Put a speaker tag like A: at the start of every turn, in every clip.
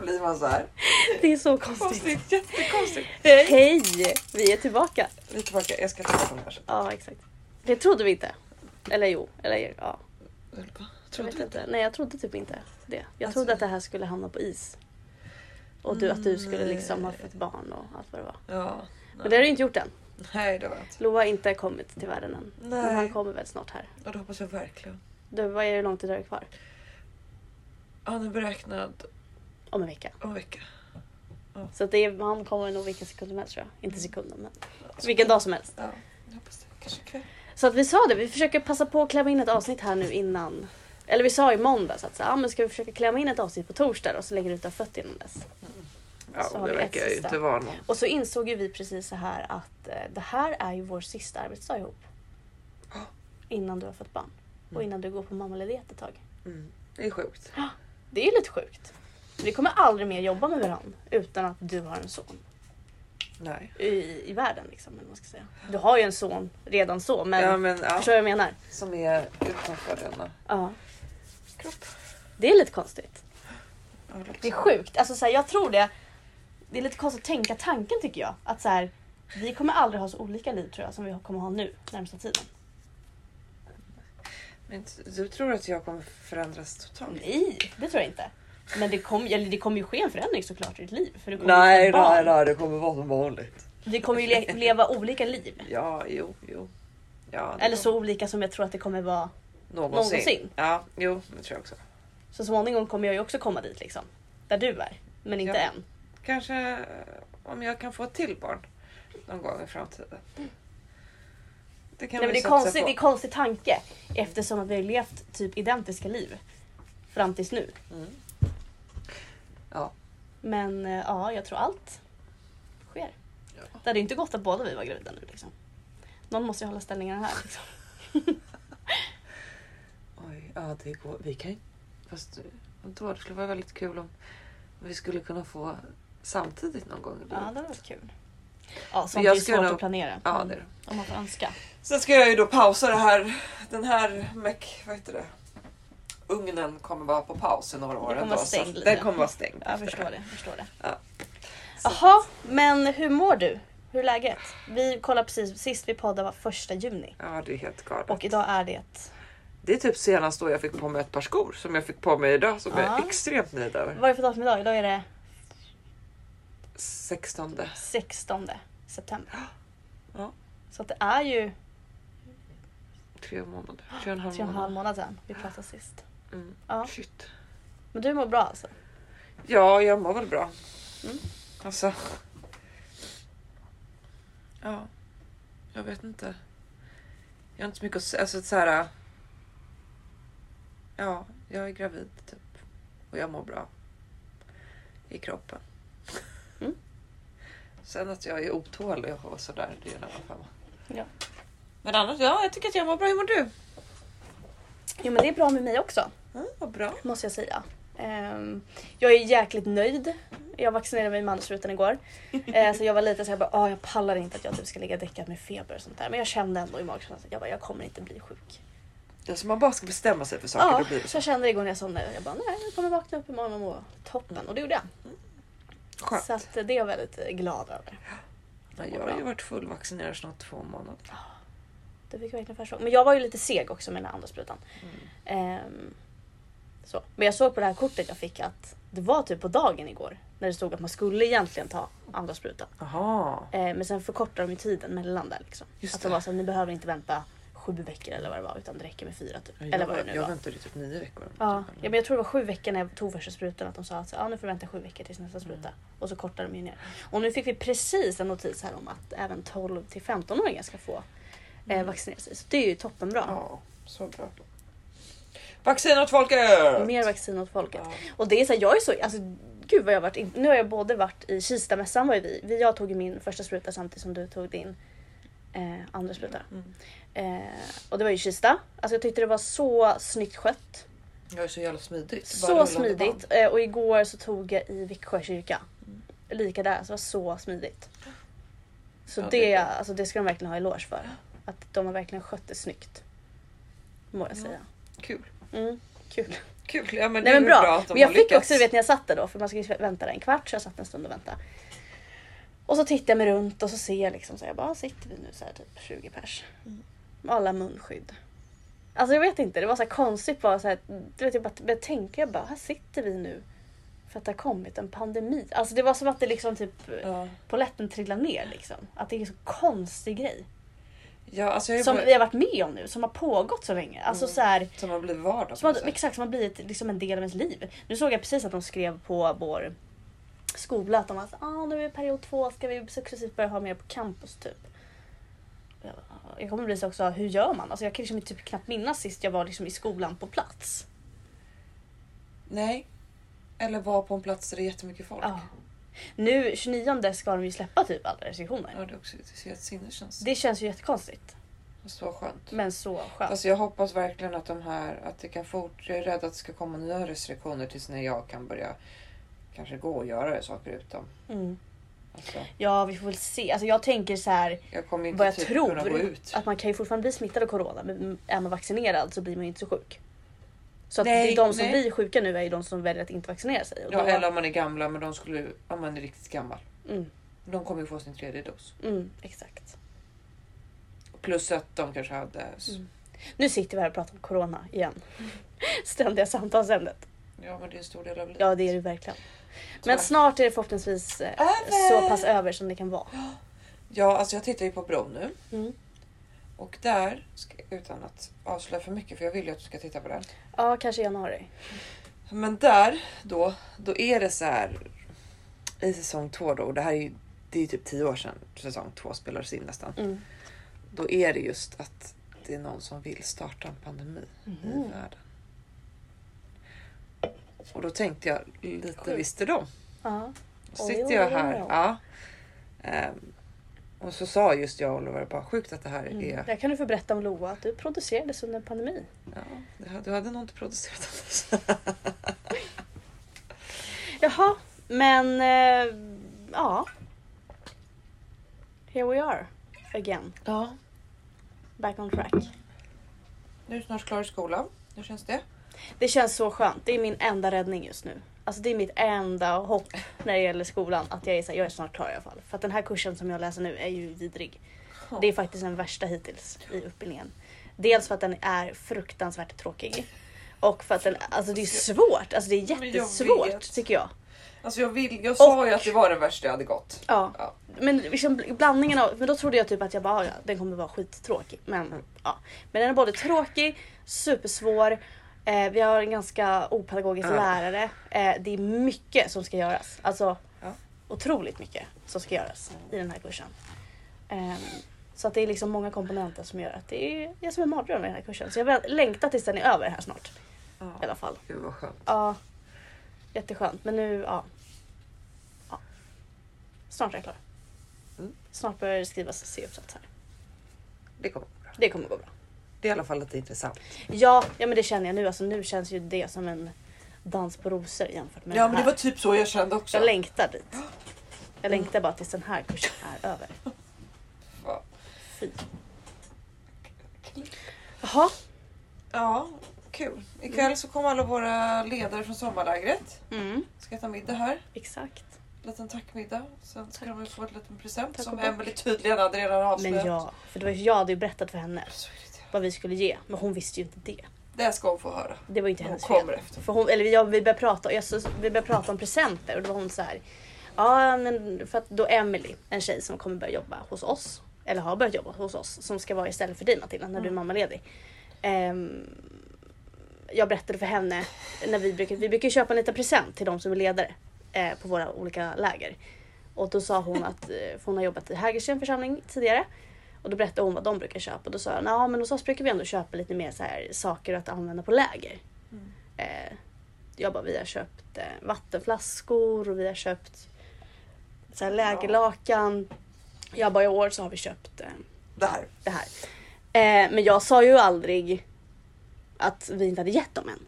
A: blir man så här.
B: Det är så konstigt.
A: Konstigt, jättekonstigt.
B: Hej! Vi är tillbaka.
A: Vi är tillbaka, jag ska ta på den här sen.
B: Ja, exakt. Det trodde vi inte. Eller jo, eller ja. Jag
A: Trodde
B: vet
A: du
B: inte. Nej, jag trodde typ inte det. Jag
A: Alltså-
B: trodde att det här skulle hamna på is. Och du, att du skulle liksom ha
A: Nej.
B: fått barn och allt vad det var.
A: Ja.
B: Men det har du inte gjort än.
A: Nej det var jag inte.
B: Loa har inte kommit till världen än. Men han
A: Nej.
B: kommer väl snart här.
A: Och det hoppas jag verkligen.
B: Du, vad är det långt det är kvar?
A: Han är beräknad
B: Om en vecka.
A: om en vecka.
B: Så att det är, han kommer nog vilken sekund som helst tror jag. Inte sekunden men vilken dag som helst.
A: Ja, jag hoppas det. Kanske ikväll.
B: Så att vi sa det, vi försöker passa på att klämma in ett avsnitt här nu innan. Eller vi sa i måndags att så, ah, men ska vi försöka klämma in ett avsnitt på torsdag och så lägger du ut en fött innan dess.
A: Ja,
B: Så
A: och
B: har
A: det
B: vi ett
A: verkar ju
B: sista.
A: inte vara någon.
B: Och så insåg ju vi precis så här att eh, det här är ju vår sista arbetsdag ihop.
A: Ja.
B: Innan du har fått barn. Och innan du går på mammaledighet ett tag.
A: Mm. Det är sjukt.
B: Det är ju lite sjukt. Vi kommer aldrig mer jobba med varandra utan att du har en son.
A: Nej.
B: I, i världen liksom. Eller vad man ska säga. Du har ju en son redan så men,
A: ja, men, ja,
B: förstår du vad jag menar?
A: som är utanför denna
B: Ja.
A: kropp.
B: Det är lite konstigt.
A: Ja, liksom. låter
B: Det är
A: så.
B: sjukt. Alltså, så här, jag tror det. Det är lite konstigt att tänka tanken tycker jag. Att så här, vi kommer aldrig ha så olika liv tror jag som vi kommer ha nu närmsta tiden.
A: Men t- du tror att jag kommer förändras totalt?
B: Nej, det tror jag inte. Men det kommer eller det kommer ju ske en förändring såklart i ditt liv. För du kommer ju
A: Nej,
B: få barn.
A: nej, nej, det kommer vara som vanligt.
B: Vi kommer ju le- leva olika liv.
A: Ja, jo, jo. Ja, det kommer-
B: Eller så olika som jag tror att det kommer vara.
A: Någonsin.
B: någonsin.
A: Ja, jo, det tror jag också.
B: Så småningom kommer jag ju också komma dit liksom. Där du är. Men inte
A: Ja.
B: än.
A: Kanske eh, om jag kan få ett till barn någon gång i framtiden. Det kan vi
B: Nej, men det, är
A: satsa
B: konstigt,
A: på.
B: det är konstig tanke. Eftersom att vi har levt typ identiska liv. Fram tills nu.
A: Mm. Ja.
B: Men eh, ja, jag tror allt sker.
A: Ja.
B: Det hade ju inte gått att båda vi var gravida nu liksom. Någon måste ju hålla ställningarna här. Liksom.
A: Oj, ja det går. Vi kan ju- Fast då, det skulle vara väldigt kul om vi skulle kunna få samtidigt någon gång. i
B: Ja, det
A: livet.
B: hade varit kul. Ja, sånt
A: jag
B: är ju
A: skulle
B: svårt
A: nog-
B: att planera.
A: ja
B: men
A: det är det.
B: Om man får önska.
A: Sen ska jag ju då pausa det här. Den här meck, vad heter det? Ugnen kommer vara på paus i några år.
B: kommer
A: ändå,
B: vara
A: så
B: stängd
A: att
B: lite.
A: Den kommer vara stängd.
B: Jag
A: efter
B: förstår
A: här.
B: det. Förstår det.
A: Ja.
B: Jaha, men hur mår du? Hur är läget? Vi kollade precis, sist vi poddade var första juni.
A: Ja, det är helt galet.
B: Och idag är det...
A: Det är typ senast då jag fick på mig ett par skor som jag fick på mig idag som jag
B: Ja.
A: är extremt nöjd över.
B: Vad är det för datum idag? Idag är det
A: 16.
B: 16 september.
A: Ja.
B: Så att det är ju
A: Tre månader. Tre och en halv
B: tre och en halv
A: månad.
B: månad sedan vi pratade sist.
A: Mm.
B: Ja.
A: Shit.
B: Men du mår bra alltså?
A: Ja, jag mår väl bra.
B: Mm.
A: Alltså. Ja, jag vet inte. Jag har inte så mycket att säga. Alltså, så här, ja, jag är gravid typ. Och jag mår bra. I kroppen.
B: Mm.
A: Sen att jag är otålig och sådär, det är en annan femma.
B: Ja.
A: Men annars, ja, jag tycker att jag mår bra. Hur mår du?
B: Jo men det är bra med mig också.
A: Mm, vad bra.
B: måste jag säga. Ehm, jag är jäkligt nöjd. Jag vaccinerade mig med mandelstruten igår. Eh, så jag var lite såhär, bara, "Ah, jag pallar inte att jag typ ska ligga däckad med feber och sånt där. Men jag kände ändå i magkänslan att jag, bara, jag kommer inte bli sjuk.
A: Alltså, man bara ska bestämma sig för saker,
B: Ja,
A: då blir det
B: så
A: så
B: jag kände igår när jag somnade. Jag bara, nej jag kommer vakna upp imorgon och må toppen. Och det gjorde jag.
A: skönt.
B: Så att eh, det är jag väldigt eh, glad över.
A: Ja, jag har ju varit fullvaccinerad snart två månader.
B: Det fick jag verkligen förstå. Men jag var ju lite seg också med den här andra sprutan. Ehm, så. Men jag såg på det här kortet jag fick att det var typ på dagen igår. När det stod att man skulle egentligen ta andra sprutan.
A: Jaha.
B: Eh, men sen förkortar de ju tiden mellan där liksom.
A: Just
B: att de
A: det.
B: var så här, ni behöver inte vänta sju veckor eller vad det var utan det räcker med fyra typ.
A: Ja,
B: eller vad det
A: jag
B: nu
A: jag
B: var.
A: väntade i typ nio veckor.
B: Ja.
A: Typ,
B: ja men jag tror det var sju veckor när jag tog första sprutan att de sa att så, ja, nu får du vänta sju veckor tills nästa spruta.
A: Mm.
B: Och så kortar de ju ner. Och nu fick vi precis en notis här om att även 12 till 15-åringar ska få eh, vaccinera sig. Så det är ju toppenbra.
A: Mm. ja, så bra. Vaccin åt folket!
B: Mer vaccin åt folket.
A: Ja.
B: Och det är så här, jag är så, alltså gud vad jag har varit, in, nu har jag både varit i Kistamässan var ju vi, vi, jag tog ju min första spruta samtidigt som du tog din eh, andra spruta.
A: Mm.
B: Eh, och det var ju Kista. Alltså jag tyckte det var så snyggt skött.
A: Jag är så jävla smidigt.
B: Så smidigt. Eh, och igår så tog jag i Växjö kyrka. Lika där, så det var så smidigt. Så
A: Ja,
B: det,
A: det är bra.
B: alltså, det ska de verkligen ha eloge för. Att de har verkligen skött det snyggt. Må jag
A: Ja.
B: säga.
A: Kul.
B: Mm, kul.
A: Kul. Ja, men
B: Nej
A: det
B: men
A: är bra.
B: bra.
A: att de
B: men jag
A: har
B: fick
A: lyckats.
B: också, du vet när jag satt där då, för man ska ju vänta där en kvart, så jag satt en stund och väntade. Och så tittar jag mig runt och så ser jag liksom så här, jag bara sitter vi nu så här typ 20 pers.
A: Mm.
B: Med alla munskydd. Alltså jag vet inte, det var så här konstigt bara så här, du vet jag bara började tänka, jag bara här sitter vi nu. För att det har kommit en pandemi. Alltså det var som att det liksom typ,
A: Ja.
B: polletten trillar ner liksom. Att det är en så konstig grej.
A: Ja, alltså jag är
B: Som
A: bara,
B: vi har varit med om nu, som har pågått så länge. Alltså
A: Mm.
B: så här,
A: som har blivit vardag.
B: som
A: på något
B: har,
A: sätt.
B: exakt, som har blivit liksom en del av ens liv. Nu såg jag precis att de skrev på vår skola att de var så, ah, nu är period två, ska vi successivt börja ha mer på campus typ. Jag bara, "Ah." Jag kommer bli så också, hur gör man? Alltså jag kan liksom inte- typ knappt minnas sist jag var liksom i skolan på plats.
A: Nej. Eller var på en plats där det är jättemycket folk.
B: Ja. Ah. Nu 29 ska de ju släppa typ alla restriktioner.
A: Ja, det är också det ser helt sinnessjukt.
B: Det känns ju jättekonstigt.
A: Så skönt.
B: Men så skönt.
A: Alltså jag hoppas verkligen att de här, att det kan fort, jag är rädd att det ska komma nya restriktioner tills när jag kan börja kanske gå och göra saker utom.
B: Mm.
A: Alltså,
B: Ja vi får väl se. Alltså jag tänker så här.
A: jag kommer
B: Vad
A: inte
B: jag
A: typ
B: tror
A: kunna gå ut.
B: att man kan ju fortfarande bli smittad av corona men är man vaccinerad så blir man ju inte så sjuk. Så att
A: Nej,
B: det är de som
A: nej.
B: blir sjuka nu är ju de som väljer att inte vaccinera sig. Och
A: Ja,
B: då-
A: eller om man är gamla, men de skulle, om man är riktigt gammal.
B: mm,
A: De kommer ju få sin tredje dos.
B: mm, exakt.
A: Plus att de kanske hade...
B: Mm. Nu sitter vi här och pratar om corona igen. Ständiga samtalsämnet.
A: Ja, men det är en stor del av livet.
B: Ja det är det verkligen. Men
A: Tyvärr.
B: snart är det förhoppningsvis eh,
A: Över!
B: så pass över som det kan vara.
A: Ja, alltså jag tittar ju på Bron nu.
B: Mm.
A: Och där, ska, utan att avslöja för mycket, för jag vill ju att du ska titta på den.
B: Ja kanske i januari.
A: Men där då, då är det så här i säsong två då, och det här är ju det är ju typ tio år sedan säsong två spelades in nästan.
B: Mm.
A: Då är det just att det är någon som vill starta en pandemi i världen. Och då tänkte jag, lite
B: Sjukt.
A: visste de?
B: Ja.
A: Då
B: Oj,
A: sitter
B: oj,
A: jag
B: oj,
A: här.
B: oj.
A: Ja. Ehm, och så sa just jag och Oliver bara sjukt att det här
B: Mm.
A: är...
B: Där kan du få berätta om Loa att du producerades under pandemin.
A: Ja, det här- du hade nog inte producerat annars.
B: Jaha, men eh, ja. Here we are again,
A: Ja.
B: back on track.
A: Nu är du snart klar i skolan. Hur känns det?
B: Det känns så skönt. Det är min enda räddning just nu. Alltså det är mitt enda hopp när det gäller skolan. Att jag är, så här, jag är snart klar i alla fall. För att den här kursen som jag läser nu är ju vidrig. Det är faktiskt den värsta hittills i utbildningen. Dels för att den är fruktansvärt tråkig. Och för att den, alltså det är svårt. Alltså det är
A: Men jag
B: jättesvårt
A: vet.
B: tycker jag.
A: Alltså jag, vill, jag sa
B: Och-
A: ju att det var den värsta jag hade gått.
B: Ja.
A: Ja.
B: Men liksom bl- blandningen av, men då trodde jag typ att jag bara, ja, den kommer vara skittråkig.
A: Mm.
B: Men, ja. men den är både tråkig, supersvår, eh, vi har en ganska opedagogisk
A: Ja.
B: lärare. Eh, det är mycket som ska göras. Alltså
A: Ja.
B: otroligt mycket som ska göras i den här kursen. Ehm, så att det är liksom många komponenter som gör att det är, jag är som en mardröm i den här kursen. Så jag väl- längtar tills den är över här snart i alla fall.
A: Gud vad skönt.
B: Ja, jätteskönt. Men nu, ja. ja. Snart är jag klar.
A: Mm.
B: Snart börjar det skrivas C-uppsats här.
A: Det kommer gå bra.
B: Det kommer gå bra.
A: Det är i alla fall lite intressant.
B: Ja, ja men det känner jag nu. Alltså, nu känns ju det som en dans på rosor jämfört med
A: Ja
B: den
A: men
B: här.
A: det var typ så Mm. jag kände också.
B: Jag längtar dit. Jag längtar bara tills den här kursen är över.
A: Fan.
B: Fy. Jaha,
A: Ja, kul. Ikväll så kommer alla våra ledare från sommarlägret.
B: mm,
A: Ska äta middag här.
B: exakt.
A: Liten tackmiddag. Sen ska de få en liten present
B: Tack och
A: som
B: bock.
A: Emelie tydligen hade redan
B: Men
A: avslöjat.
B: ja, för det var ju jag hade ju berättat för henne
A: Så irriterad.
B: vad vi skulle ge, men hon visste ju inte det.
A: Det ska hon få höra.
B: Det var ju inte
A: Hon
B: hennes fel.
A: kommer efter.
B: För hon, eller jag, vi, började prata, jag, så- vi började prata om presenter och då var hon så här. Ja, men för att då Emily, en tjej som kommer börja jobba hos oss, eller har börjat jobba hos oss, som ska vara istället för dig Matilda när du är
A: Mm.
B: mammaledig. Ehm, jag berättade för henne, när vi brukar, vi brukar köpa en liten present till de som är ledare eh, på våra olika läger. Och då sa hon att, eh, för hon har jobbat i Hägersten församling tidigare, och då berättade hon vad de brukar köpa. Och då sa jag, ja men hos oss brukar vi ändå köpa lite mer så här, saker att använda på läger.
A: Mm.
B: Eh, jag bara, vi har köpt eh, vattenflaskor och vi har köpt så här, lägerlakan. Jag bara, i år så har vi köpt eh,
A: Det här.
B: det här. Eh, men jag sa ju aldrig att vi inte hade gett dem än.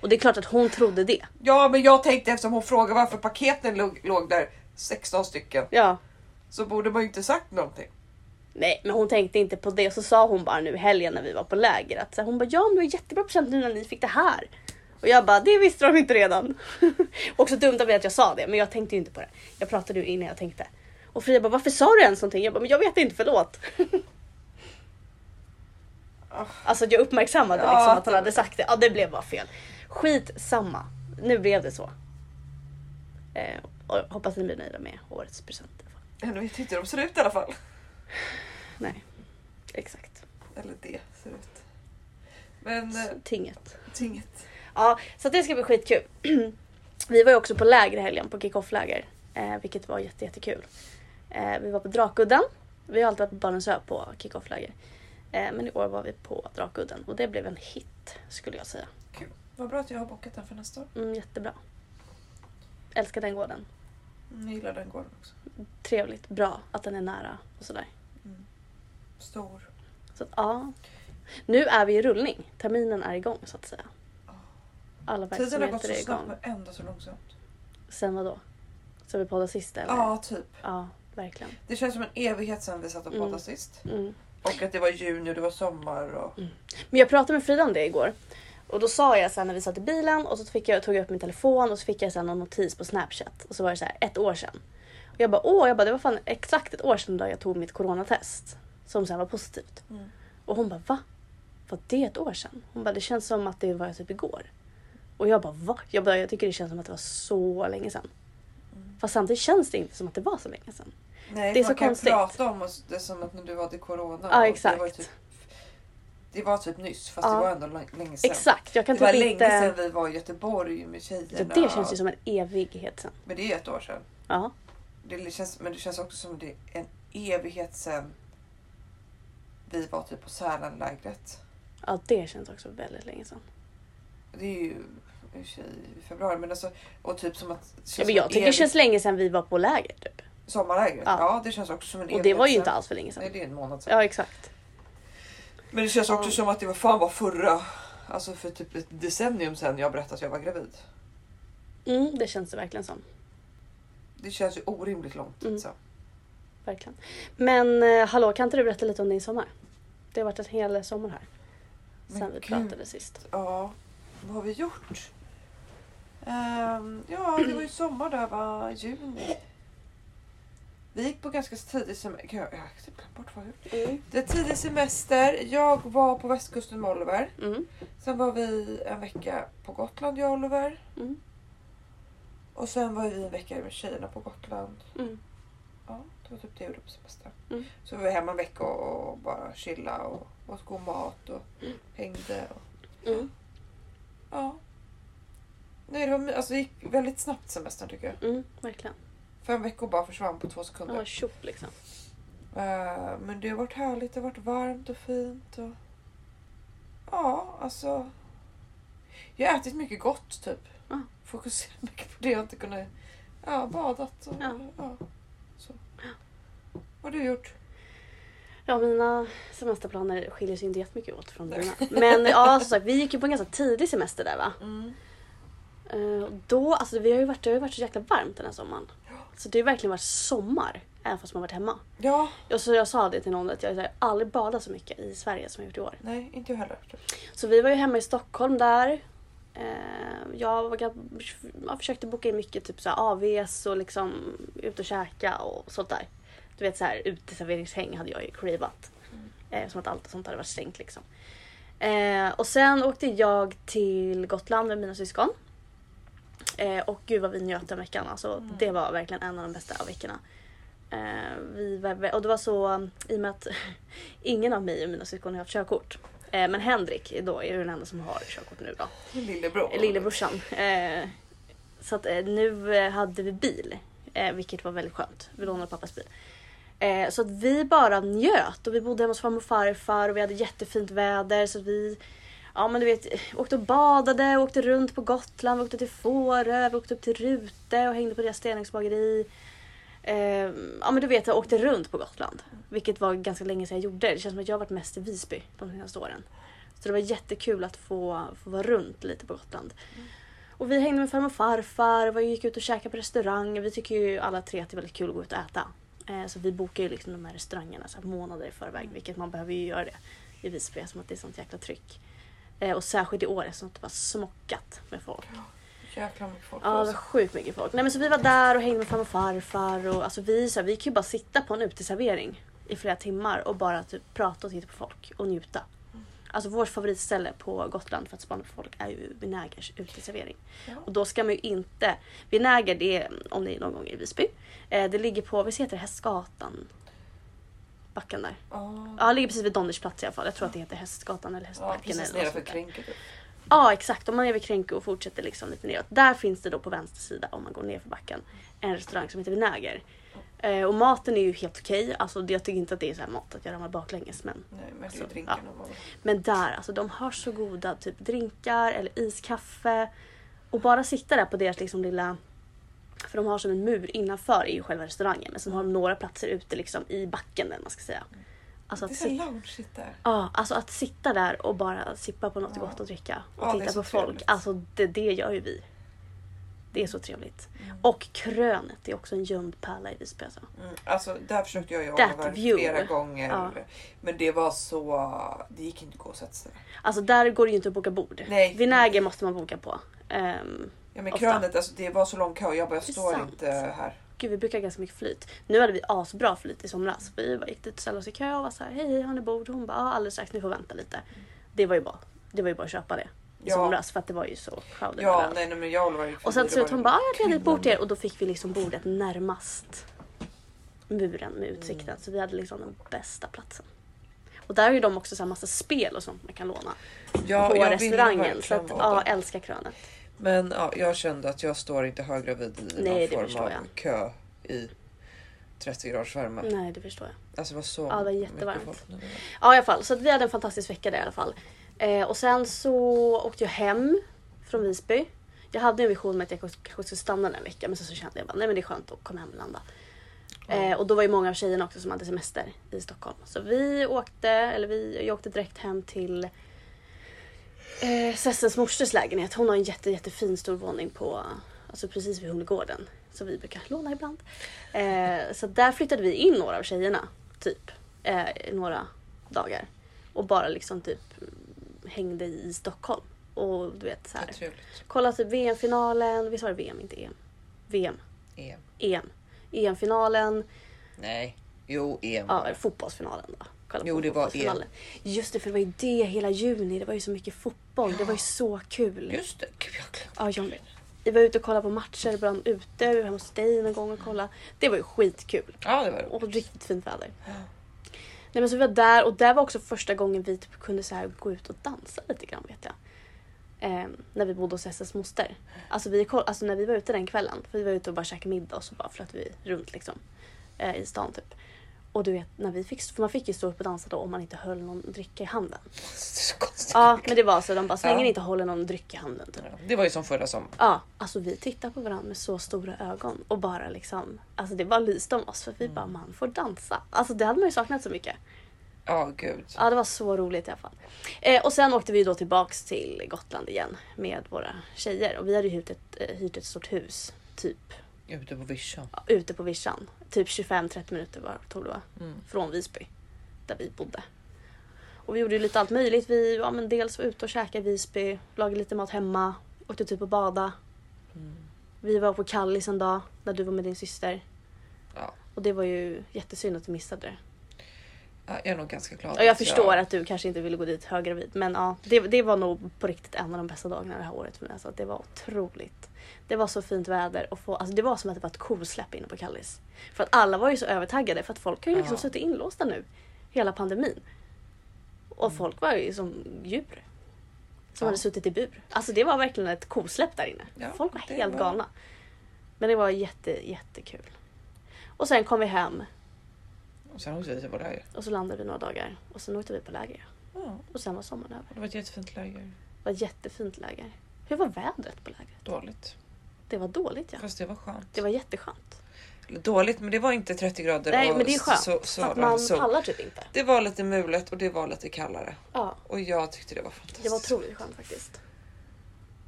B: Och det är klart att hon trodde det.
A: Ja men jag tänkte eftersom hon frågade varför paketen låg, låg där 16 stycken
B: Ja.
A: så borde man ju inte sagt någonting.
B: Nej, men hon tänkte inte på det. Så sa hon bara nu i helgen när vi var på läger att så här, hon bara, ja men det var jättebra present nu när ni fick det här. Och Och jag bara, det visste de inte redan. och så dumt av mig att jag sa det, men jag tänkte ju inte på det. Jag pratade ju innan jag tänkte. Och Frida bara, varför sa du ens någonting? Jag bara, men jag vet inte, förlåt. Alltså att jag uppmärksammade
A: Ja,
B: liksom
A: att
B: att hon
A: det-
B: hade sagt det. Ja, det blev bara fel. Skitsamma. Nu blev det så. Eh, och jag hoppas ni blir nöjda med årets present. i alla fall.
A: Eller vet inte hur de ser ut i alla fall.
B: Nej, exakt.
A: Eller det ser ut. Men eh,
B: Så, tinget.
A: tinget.
B: Ja, så det ska bli skitkul. vi var ju också på läger i helgen, på kick-off-läger. Eh, vilket var jätte, jättekul. Eh, vi var på Drakudden. Vi har alltid varit på Barnensö på kick-off-läger. Eh, men i år var vi på Drakudden och det blev en hit skulle jag säga.
A: Vad bra att jag har bockat den för nästa år.
B: Mm, jättebra. Älskar den gården.
A: Mm, Jag gillar den gården också.
B: Trevligt, bra att den är nära och sådär.
A: Mm. Stor.
B: Så att, ja. Nu är vi i rullning. Terminen är igång så att säga. Alla
A: Tiden har gått
B: verksamheter
A: så
B: är
A: snabbt
B: igång.
A: men ändå så långsamt.
B: Sen vadå? Sen vi poddade sist eller?
A: Ja, typ.
B: Ja, verkligen.
A: Det känns som en evighet sedan vi satt och
B: Mm.
A: poddade sist.
B: Mm.
A: Och att det var juni och det var sommar och...
B: Men jag pratade med Frida om det igår. Och då sa jag sen när vi satt i bilen och så fick jag, tog jag upp min telefon och så fick jag sen någon notis på Snapchat. Och så var det så här ett år sedan. Och jag bara åh, jag bara, det var fan exakt ett år sedan då jag tog mitt coronatest. Som sen var positivt.
A: Mm.
B: Och hon bara va? Var det ett år sedan? Hon bara det känns som att det var typ igår. Och jag bara va? Jag, bara, jag tycker det känns som att det var så länge sedan.
A: Mm.
B: Fast samtidigt känns det inte som att det var så länge sedan.
A: Nej,
B: Det är
A: man
B: så
A: kan
B: konstigt.
A: prata om oss- det som att när du var i corona.
B: Ja,
A: och Det var,
B: exakt.
A: typ, det var typ nyss fast
B: Ja.
A: det var ändå lä- länge sedan.
B: Exakt, jag
A: Det
B: kan
A: var
B: typ
A: länge
B: inte...
A: sedan vi var i Göteborg med
B: Så
A: tjejerna.
B: det känns ju som en evighet sedan.
A: Men det är ett år sedan.
B: Ja.
A: Det känns, men det känns också som det är en evighet sedan vi var typ på Sälenlägret.
B: ja, det känns också väldigt länge sedan.
A: Det är ju i och för sig i februari. Men alltså, och typ som att... känns
B: Ja, men
A: som
B: jag
A: en
B: tycker det
A: evig-
B: känns länge sedan vi var på läger typ.
A: Sommarlägret? Ja.
B: Ja.
A: det känns också som en
B: Och det var ju
A: sedan.
B: inte alls för länge
A: Nej,
B: sedan.
A: det är en månad sedan.
B: Ja exakt.
A: Men det känns också som att det var fan var förra, alltså för typ ett decennium sedan jag berättade att jag var gravid.
B: Mm, det känns det verkligen som.
A: Det känns ju orimligt långt.
B: Mm.
A: Alltså.
B: Verkligen. Men eh, hallå, kan inte du berätta lite om din sommar? Det har varit en hel sommar här.
A: Men
B: Sen vi
A: gud.
B: pratade sist.
A: Ja, vad har vi gjort? Ehm, ja, det var ju sommar där va, juni. Vi gick på ganska tidig semester. Jag jag har typ glömt bort vad jag gjorde.
B: Mm.
A: Det är tidig semester. Jag var på västkusten med Oliver.
B: Mm.
A: Sen var vi en vecka på Gotland, jag och Oliver.
B: Mm.
A: Och sen var vi en vecka med tjejerna på Gotland.
B: Mm.
A: Ja, det var typ det jag gjorde på semestern.
B: Mm.
A: Så var vi hemma en vecka och och bara chilla och åt god mat och hängde. Och,
B: Mm.
A: ja. Nej, det, var, my- alltså, det gick väldigt snabbt semestern tycker jag.
B: Mm. Verkligen.
A: Fem veckor bara försvann på två
B: Det
A: sekunder.
B: var tjoff liksom.
A: Eh, men det har varit härligt, det har varit varmt och fint. Och... Ja, alltså. Jag har ätit mycket gott typ.
B: Ja.
A: Fokuserat mycket på det jag inte kunde. Ja, badat och ja.
B: Ja.
A: så. Vad har du gjort?
B: Ja, mina semesterplaner skiljer sig inte jättemycket åt från dina. Men ja, som sagt, vi gick ju på en ganska tidig semester där va? Eh, Då, alltså vi har ju varit, det har ju varit så jäkla varmt den här sommaren. Så det har ju verkligen varit sommar, även fast man har varit hemma.
A: Ja,
B: Och så jag sa det till någon att jag har aldrig badat så mycket i Sverige som jag gjort i år.
A: nej, inte jag heller.
B: Så vi var ju hemma i Stockholm där. Eh, Jag, var, gam- jag försökte boka in mycket typ så här AVs och liksom ut och käka och sånt där. Du vet så här uteserveringshäng hade jag ju cravat. Eh, Som att allt sånt hade varit stängt liksom. Eh, och sen åkte jag till Gotland med mina syskon. Eh, och gud vad vi njöt den veckan. Alltså, Det var verkligen en av de bästa av veckorna. Eh, vi var, och det var så i och med att ingen av mig och mina syskon har haft körkort. Eh, men Henrik då är ju den enda som har körkort nu då.
A: Lillebror.
B: Lillebrorsan. Eh, så att eh, nu eh, hade vi bil. Eh, vilket var väldigt skönt. Vi lånade pappas bil. Eh, så att vi bara njöt och vi bodde hemma hos farmor och farfar och vi hade jättefint väder så att vi Ja men du vet, åkte och badade, åkte runt på Gotland, vi åkte till Fårö, vi åkte upp till Rute och hängde på deras stenugnsbageri. Eh, ja men du vet, jag åkte runt på Gotland. Vilket var ganska länge sedan jag gjorde. Det känns som att jag har varit mest i Visby de senaste åren. Så det var jättekul att få, få vara runt lite på Gotland. Och vi hängde med farmor och farfar, vi gick ut och käkade på restaurang. Vi tycker ju alla tre att det är väldigt kul att gå ut och äta. Eh, så vi bokar ju liksom de här restaurangerna så här månader i förväg, vilket man behöver ju göra det i Visby eftersom att det är sånt jäkla tryck. Eh, och särskilt i år eftersom det var smockat med folk.
A: Jäklar mycket folk Alltså,
B: Ja, det var sjukt mycket folk. Nej, men så vi var där och hängde med farmor och farfar. Och, alltså, vi, så här, vi kan ju bara sitta på en uteservering i flera timmar och bara typ, prata och titta på folk och njuta. Alltså vårt favoritställe på Gotland för att spana på folk är ju Vinägers uteservering.
A: Ja.
B: Och då ska man ju inte... Vinäger, det är, om ni är någon gång är i Visby, eh, det ligger på, visst heter det Hästgatan? Backen där.
A: Ja,
B: Ja, det ligger precis vid Donners plats i alla fall. Jag tror att det heter Hästgatan eller
A: ja,
B: Hästbacken.
A: precis
B: eller något
A: nedanför
B: sånt där.
A: kränket.
B: Ja exakt, om man är vid Kränke och fortsätter liksom lite neråt. Där finns det då på vänster sida om man går ner för backen en restaurang som heter Vinäger. Eh, och maten är ju helt okej. Alltså, det- jag tycker inte att det är så här mat att jag ramlar baklänges. Men,
A: Nej, men det är
B: Alltså,
A: ju drinkarna. man-
B: men där, alltså de har så goda typ drinkar eller iskaffe. Och bara sitta där på deras liksom lilla... För de har som en mur innanför är ju själva restaurangen. Men sen har de några platser ute liksom i backen eller vad man ska säga. Alltså
A: Det är
B: att
A: så
B: sitta
A: lounge shit där.
B: Ja, alltså att sitta där och bara sippa på något
A: Ja.
B: gott att dricka och
A: Ja, det är
B: titta
A: så
B: på folk.
A: trevligt.
B: Alltså det, det gör ju vi. Det är så trevligt. Och krönet, det är också en gömd pärla i Visby alltså.
A: Mm, alltså där försökte jag jobba
B: That
A: över
B: view.
A: flera gånger.
B: Ja.
A: Men det var så... Det gick inte att gå och sätta sig.
B: Alltså där går det ju inte att boka bord.
A: Nej.
B: Vinäger måste man boka på. Ehm,
A: Ja men
B: Ofta.
A: krönet, alltså det var så lång kö. Jag bara, jag
B: Det är
A: står
B: sant.
A: inte här.
B: gud vi brukar ha ganska mycket flyt. Nu hade vi asbra flyt i somras. Vi bara gick dit och ställde oss i kö och var såhär hej hej har ni bord? Hon bara ja alldeles strax ni får vänta lite. Det var ju bara, det var ju bara att köpa det i
A: Ja.
B: somras för att det var ju så crowded
A: Ja,
B: överallt.
A: nej, nej men jag Oliver gick förbi,
B: Och sen
A: det
B: till slut
A: var
B: hon
A: ju-
B: bara, "Ah, jag kan ett bord till er. Och då fick vi liksom bordet närmast muren med utsikten.
A: Mm.
B: Så vi hade liksom den bästa platsen. Och där har ju de också så här massa spel och sånt man kan låna.
A: ja,
B: på
A: jag ville
B: restaurangen.
A: verkligen
B: Så att,
A: vara
B: ja,
A: där.
B: älskar krönet.
A: Men ja, jag kände att jag står inte höggravid i
B: Nej, det
A: någon form
B: förstår
A: av
B: jag.
A: kö i 30 graders värme.
B: Nej, det förstår jag.
A: Alltså det var så
B: Ja, det var
A: mycket
B: jättevarmt.
A: folk nu.
B: Ja, i alla fall. Så att vi hade en fantastisk vecka där i alla fall. Eh, och sen så åkte jag hem från Visby. Jag hade en vision med att jag kanske skulle stanna den veckan men sen så kände jag bara, nej men det är skönt att komma hem och landa. Eh, och då var ju många av tjejerna också som hade semester i Stockholm. Så vi åkte, eller vi, jag åkte direkt hem till eh, Sessens morses lägenhet. Hon har en jätte, jättefin stor våning på, alltså precis vid Humlegården. Som vi brukar låna ibland. Eh, så där flyttade vi in några av tjejerna. Typ. Eh, några dagar. Och bara liksom typ hängde i Stockholm. Och du vet så här.
A: Det är trevligt.
B: Kolla typ VM-finalen. Visst var det VM, inte EM? VM.
A: EM.
B: EM. EM-finalen.
A: Nej. Jo, EM.
B: Ja, fotbollsfinalen då. Kolla
A: Jo,
B: på
A: det var
B: fotbollsfinalen. Just det, för det var ju det hela juni. Det var ju så mycket fotboll. Det var ju så kul.
A: Just det. Gud, jag glömde.
B: Ja, jag med. Vi var ute och kollade på matcher bland ute. Vi var hemma hos dig någon gång och kollade. Det var ju skitkul.
A: Ja, det var det.
B: Och riktigt fint väder. Nej, men så vi var där och där var också första gången vi typ kunde så här gå ut och dansa lite grann vet jag. Ehm, när vi bodde hos SS moster. Alltså, vi, koll- alltså när vi var ute den kvällen, för vi var ute och bara käkade middag och så bara flöt vi runt liksom eh, i stan typ. Och du vet, när vi fick, för man fick ju stå upp och dansa då om man inte höll någon dryck i handen.
A: Det är så konstigt.
B: Ja, men det var så. De bara, så länge
A: Ja.
B: ni inte håller någon dryck i handen typ.
A: Ja, Det var ju som förra sommaren.
B: Ja, alltså vi tittar på varandra med så stora ögon och bara liksom, alltså det bara lyste om oss för vi bara man får dansa. Alltså det hade man ju saknat så mycket.
A: Ja, gud.
B: Ja, det var så roligt i alla fall. Eh, och sen åkte vi då tillbaks till Gotland igen med våra tjejer och vi hade ju hyrt ett, eh, hyrt ett stort hus typ
A: Ute på vischan.
B: ja, ute på vischan. Typ 25-30 minuter var tog det va?
A: Mm.
B: Från Visby. Där vi bodde. Och vi gjorde ju lite allt möjligt. Vi ja, men dels var ute och käkade i Visby, lagade lite mat hemma, åkte typ och bada.
A: mm.
B: Vi var på Kallis en dag när du var med din syster.
A: Ja.
B: Och det var ju jättesynd att du missade det.
A: Ja, alltså, Jag är nog ganska glad.
B: Och jag
A: att
B: förstår att du kanske inte ville gå dit höggravid. Men ja, det, det var nog på riktigt en av de bästa dagarna det här året för mig. Alltså, det var otroligt. Det var så fint väder och få, alltså, det var som att det var ett kosläpp inne på Kallis. För att alla var ju så övertaggade för att folk har ju liksom
A: Ja.
B: suttit inlåsta nu. Hela pandemin. Och folk var ju som djur. Som
A: Ja.
B: hade suttit i bur. Alltså det var verkligen ett kosläpp där inne.
A: Ja,
B: folk var
A: det
B: helt
A: var-
B: galna. Men det var jätte, jättekul. Och sen kom vi hem
A: Och sen åkte vi till vår läger.
B: och så landade vi några dagar. Och sen åkte vi på läger.
A: Ja,
B: Och sen var sommaren över.
A: det var ett jättefint läger.
B: Det var ett jättefint läger. Hur var vädret på lägret?
A: Dåligt.
B: Det var dåligt ja.
A: Fast det var skönt.
B: Det var jätteskönt.
A: Eller Dåligt, men det var inte 30 grader
B: Nej
A: och
B: men det är skönt.
A: så, så,
B: för att man
A: så.
B: pallar typ inte.
A: Det var lite mulet och det var lite kallare.
B: Ja,
A: Och jag tyckte det var fantastiskt.
B: det var otroligt skönt faktiskt.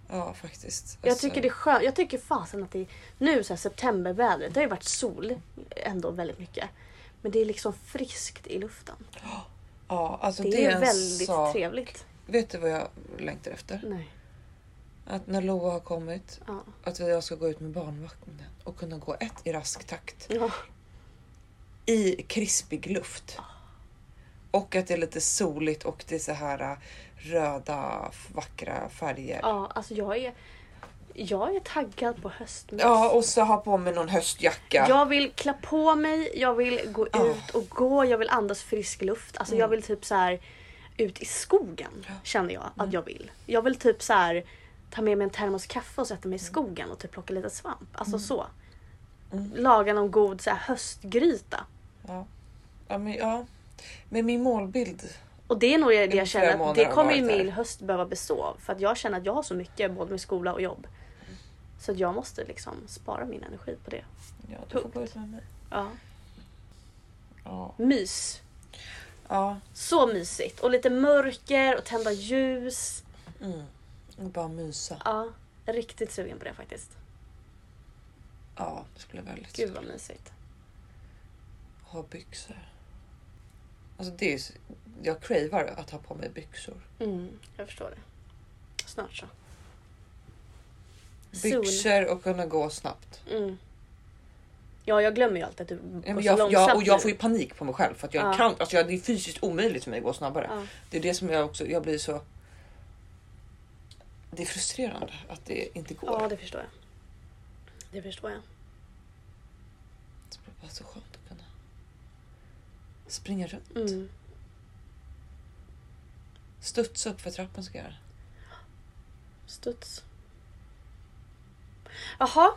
A: Ja, faktiskt.
B: Jag
A: Alltså,
B: tycker det är skönt. Jag tycker fasen att det är nu så här septembervädret. Det har ju varit sol ändå väldigt mycket. Men det är liksom friskt i luften.
A: Ja, alltså
B: Det
A: det,
B: är
A: en
B: väldigt
A: sak
B: trevligt.
A: Vet du vad jag längtar efter?
B: Nej.
A: Att när Loa har kommit,
B: Ja.
A: att jag ska gå ut med barnvagnen och kunna gå ett i rask takt
B: Ja.
A: i krispig luft. Och att det är lite soligt och det är så här äh, röda f- vackra färger.
B: ja, alltså jag är... Jag är taggad på höstmys.
A: Ja, och så ha på mig någon höstjacka.
B: Jag vill klä på mig, jag vill gå
A: Ja. Mm.
B: ut och gå, jag vill andas frisk luft. Alltså jag vill typ så här ut i skogen känner jag
A: Mm.
B: att jag vill. Jag vill typ så här ta med mig en termos kaffe och sätta mig i skogen och typ plocka lite svamp. Alltså
A: Mm.
B: så. Laga någon god så här höstgryta.
A: Ja. Ja, men, ja. men min målbild.
B: Och det är nog det
A: flera
B: jag känner att
A: månader
B: det
A: har
B: kommer ju
A: varit här.
B: min höst behöva bestå av. För att jag känner att jag har så mycket både med skola och jobb.
A: Mm.
B: Så att jag måste liksom spara min energi på det.
A: Ja, du får gå ut med mig.
B: Ja.
A: Ja.
B: Mys.
A: ja.
B: Så mysigt. Och lite mörker och tända ljus.
A: Mm. Och bara mysa.
B: Ja, riktigt sugen på det faktiskt.
A: Ja, det skulle vara väldigt
B: Gud vad mysigt.
A: Ha byxor. Alltså det är, ju så- jag cravar att ha på mig byxor.
B: Mm, jag förstår det. Snart så. Soon.
A: Byxor och kunna gå snabbt.
B: Mm. Ja, jag glömmer ju alltid att du går
A: Ja, men
B: så
A: jag,
B: långsamt
A: jag, och jag
B: nu.
A: får ju panik på mig själv för att jag
B: Ja.
A: kan. Alltså jag, det är fysiskt omöjligt för mig att gå snabbare.
B: Ja.
A: Det är det som jag också. Jag blir så. Det är frustrerande att det inte går.
B: Ja, det förstår jag. Det förstår jag.
A: Det skulle vara så skönt att kunna springa runt.
B: Mm.
A: Studsa upp för trappen ska jag göra.
B: Studs. Jaha,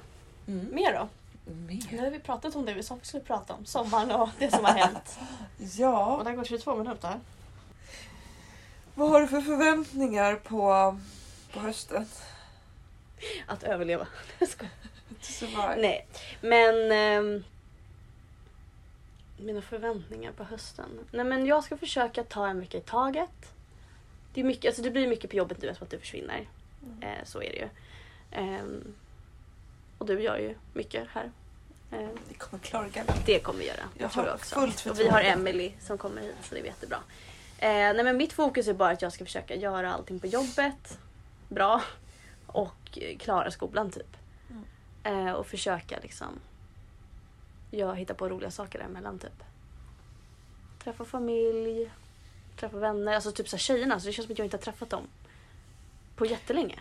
A: Mm.
B: mer då? Nu
A: Mer.
B: har vi pratat om det vi sa vi skulle prata om. Sommaren och det som har hänt. Och
A: Ja,
B: det har gått 22 minuter.
A: vad har du för förväntningar på, på hösten?
B: Att överleva. Jag skojar.
A: To survive.
B: Nej, men... ehm, mina förväntningar på hösten? Nej men jag ska försöka ta en vecka i taget. Det, är mycket, alltså det blir mycket på jobbet nu eftersom att du försvinner. Eh, så är det ju. Ehm, och du gör ju mycket här. Ehm,
A: Vi kommer klara gallan.
B: det kommer vi göra. Jag,
A: Jag
B: tror
A: har
B: det också.
A: fullt
B: och vi har
A: förtroende.
B: Emily som kommer hit så det är jättebra. Eh, nej men mitt fokus är bara att jag ska försöka göra allting på jobbet bra och eh, klara skolan typ.
A: Mm.
B: Eh, och försöka liksom jag hitta på roliga saker däremellan typ. Träffa familj, träffa vänner, alltså typ så här tjejerna så det känns som att jag inte har träffat dem på jättelänge.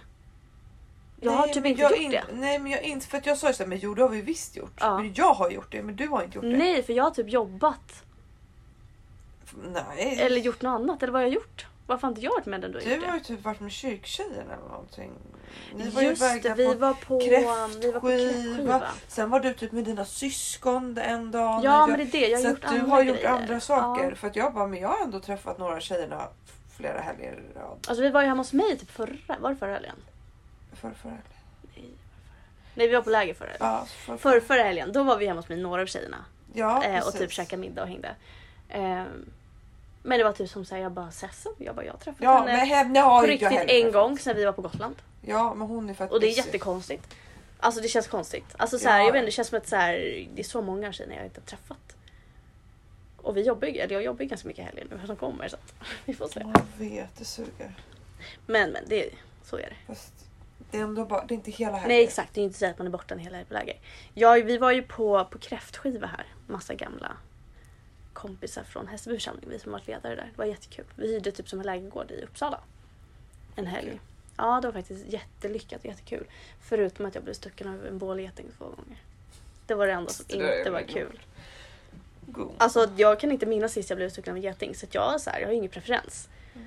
B: Jag har
A: Nej,
B: typ
A: men
B: inte
A: jag
B: gjort
A: in-
B: det.
A: Nej men jag inte för att jag sa ju såhär, men jo det har vi visst gjort.
B: Ja.
A: Men jag har gjort det men du har inte gjort det.
B: Nej för jag har typ jobbat
A: F- Nej.
B: Eller gjort något annat? Eller vad har jag gjort? Varför har inte jag varit med den du har
A: Du
B: gjort
A: har
B: det?
A: ju typ varit med kyrktjejerna eller någonting. Ni var
B: Just
A: ju iväg
B: det,
A: där
B: vi
A: på
B: var på vi var på
A: kräftskiva.
B: kräftskiva.
A: Sen var du typ med dina syskon en dag. när
B: Ja
A: jag-
B: men det är det, jag
A: så
B: har gjort
A: att
B: andra
A: du har gjort
B: grejer.
A: andra saker.
B: Ja.
A: För att jag bara, men jag har ändå träffat några av tjejerna flera helger i rad.
B: Alltså vi var ju hemma hos mig typ förra, var det förra helgen?
A: Förra, förra helgen.
B: Nej vi var på läger förra helgen.
A: Ja, för,
B: Förra, förra helgen, då var vi hemma hos mig några av tjejerna.
A: ja,
B: eh, och
A: precis.
B: typ käkade middag och hängde. Ehm, men det var typ som såhär, jag bara Sessen, jag bara jag har träffat
A: Ja,
B: henne.
A: men henne har
B: på
A: ju inte jag
B: riktigt
A: heller
B: en
A: träffat.
B: gång sen vi var på Gotland.
A: Ja, men hon är för att
B: Och det är
A: busy.
B: jättekonstigt. Alltså det känns konstigt. Alltså så här,
A: Ja.
B: jag vet inte, det känns som att så här, det är så många tjejer jag inte har träffat. Och vi jobbar ju, eller jag jobbar ju ganska mycket i helgen nu som kommer så att vi får se.
A: Jag vet, det suger.
B: Men men det, så är det.
A: Fast det är ändå bara, det är inte hela helgen.
B: Nej exakt, det är inte så att man är borta en hel helg på läger. Jag, vi var ju på, på kräftskiva här, massa gamla kompisar från Hässelby församling, vi som varit ledare där. Det var jättekul. Vi hyrde typ som en lägergård i Uppsala. En helg.
A: Kul.
B: Ja, det var faktiskt jättelyckat och jättekul. Förutom att jag blev stucken av en bålgeting två gånger. Det var det enda som
A: Det där är
B: inte var
A: väl
B: kul.
A: God.
B: Alltså jag kan inte minnas sist jag blev stucken av en geting så att jag, är så här, jag har ingen preferens.
A: Mm.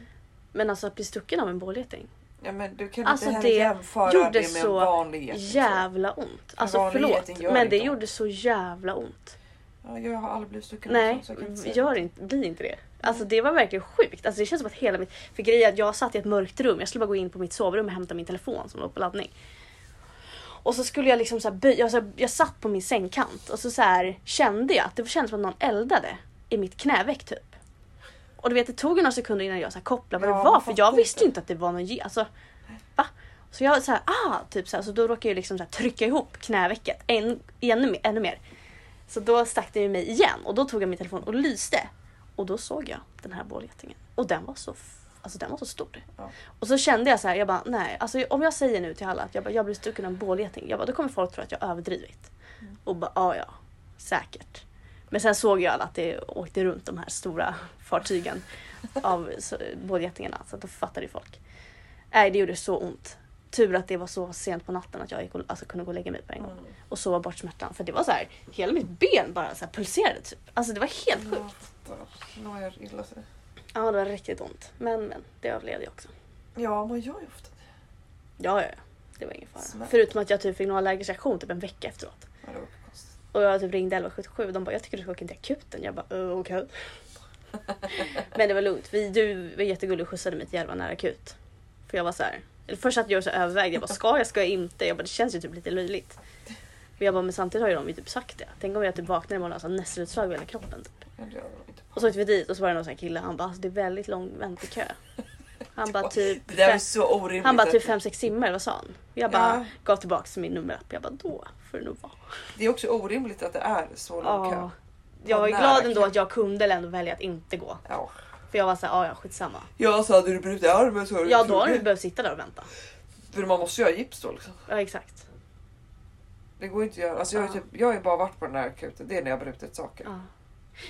B: Men alltså att bli stucken av en bålgeting,
A: Ja, men du kan
B: Alltså,
A: inte heller
B: det
A: jämföra
B: gjorde
A: det med en
B: så
A: vanlig liksom. geting.
B: jävla ont. Alltså
A: vanlig
B: förlåt,
A: geting gör
B: men
A: inte
B: det
A: ont.
B: gjorde så jävla ont.
A: Ja, jag har aldrig blivit stucken av
B: Nej, mm,
A: sånt, så jag kan inte Mm. säga
B: gör
A: något.
B: inte, bli inte det. Alltså det var verkligen sjukt. Alltså det känns som att hela mitt... För grejen är att jag satt i ett mörkt rum. Jag skulle bara gå in på mitt sovrum och hämta min telefon som låg på laddning. Och så skulle jag liksom så här böja... Jag, så här, jag satt på min sängkant och så, så här kände jag att det kändes som att någon eldade i mitt knäveck typ. Och du vet det tog ju några sekunder innan jag så här kopplade vad
A: Ja,
B: det var
A: man
B: för jag
A: fattar
B: visste ju
A: inte.
B: inte att det var någon... ge- Alltså, va? Så jag så här, ah, typ så här, så då råkade jag liksom så här trycka ihop knävecket än, ännu, mer- ännu mer. Så då stack den ju mig igen och då tog jag min telefon och lyste. Och då såg jag den här bålgetingen. Och den var så alltså den var så stor.
A: Ja.
B: Och så kände jag så här, jag bara nej, alltså om jag säger nu till alla att jag, bara, jag blir stucken av en bålgeting, jag bara, då kommer folk tro att jag har överdrivit.
A: Mm.
B: Och bara ja, ja, säkert. Men sen såg jag alla att det åkte runt de här stora fartygen av så- bålgetingarna så att då fattade ju folk. Nej, det gjorde så ont. Tur att det var så sent på natten att jag gick och, alltså, kunde gå och lägga mig på en gång
A: Mm.
B: och sova bort smärtan. För det var så här, hela mitt ben bara så här pulserade typ. Alltså det var helt sjukt.
A: Jag fattar. Nu har jag illa sig.
B: Ja, det var riktigt ont. Men, men, det överlevde jag också.
A: Ja, man gör ju ofta det.
B: Ja, ja, ja. Det var ingen fara.
A: Smärta.
B: Förutom att jag typ fick någon allergisk reaktion typ en vecka efteråt.
A: Ja, det var konstigt.
B: Och jag typ ringde 1177 och de bara “jag tycker du ska åka in till akuten”. Jag bara "Eh, “okej”. Men det var lugnt. Vi, du var jättegullig och skjutsade mig till Järva nära akut. För jag var så här. Eller först att jag och så övervägde. Jag bara “ska jag, ska jag inte?” Jag bara “det känns ju typ lite löjligt”. Men jag bara “men samtidigt har ju de ju typ sagt det. Tänk om jag typ vaknar imorgon och har så här nässelutslag över hela kroppen”. Typ.
A: Men det gör de inte.
B: Och så åkte vi dit och så var det någon sån här kille. Han bara “alltså det är väldigt lång väntekö”. Han bara typ
A: Det där är
B: fem-
A: så orimligt.
B: han bara typ 5-6 timmar, vad sa han? Jag bara
A: Ja.
B: gav tillbaka min nummerlapp. Jag bara då får det nog vara.
A: Det är också orimligt att det är så lång kö.
B: Ja. Jag
A: Vad
B: är
A: nära
B: glad ändå
A: kö.
B: att jag kunde ändå välja att inte gå.
A: Ja.
B: För jag var såhär, ja ja skitsamma.
A: Ja, så hade du brutit armen så hade
B: Ja
A: du
B: då har du
A: trodde-
B: behövt sitta där och vänta.
A: För man måste göra gips då liksom.
B: Ja exakt.
A: Det går inte att göra. Alltså, jag, har
B: Ja.
A: typ, jag har ju bara varit på den här akuten. Det är när jag har brutit saker.
B: Ja.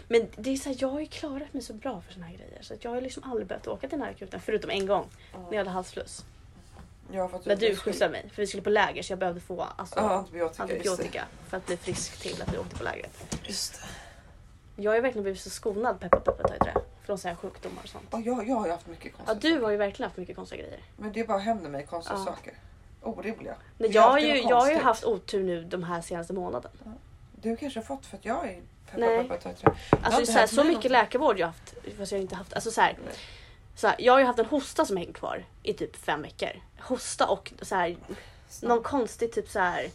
B: Men det är så här, jag har ju klarat mig så bra för såna här grejer. Så att jag har liksom aldrig behövt åka till den här akuten. Förutom en gång när jag hade halsfluss.
A: Jag har fått
B: När du
A: utväxt-
B: skjutsade mig. För vi skulle på läger så jag behövde få alltså,
A: Ja, antibiotika. Just
B: antibiotika. För att bli frisk till att vi åkte på lägret.
A: det. Just det.
B: Jag har ju verkligen blivit så skonad peppar peppar tar i trä. Från sådana här sjukdomar och sånt.
A: Ja, jag, jag har ju haft mycket
B: Ja,
A: konstigt.
B: du har ju verkligen haft mycket konstiga grejer.
A: Men det bara händer mig konstiga
B: Ja.
A: saker. Orimliga.
B: Nej,
A: Det är
B: jag, har
A: alltid
B: ju,
A: något
B: jag har ju
A: konstigt.
B: haft otur nu de här senaste månaden.
A: Du kanske har fått för att jag är
B: Nej.
A: peppar peppar tar i trä. har
B: Alltså,
A: inte
B: så, här,
A: hänt
B: så
A: mig någonting.
B: mycket läkarvård jag har haft. Fast jag har inte haft. Alltså, så här,
A: Nej.
B: så här, jag har ju haft en hosta som hängt kvar i typ fem veckor. Hosta och så här, någon konstig typ så här.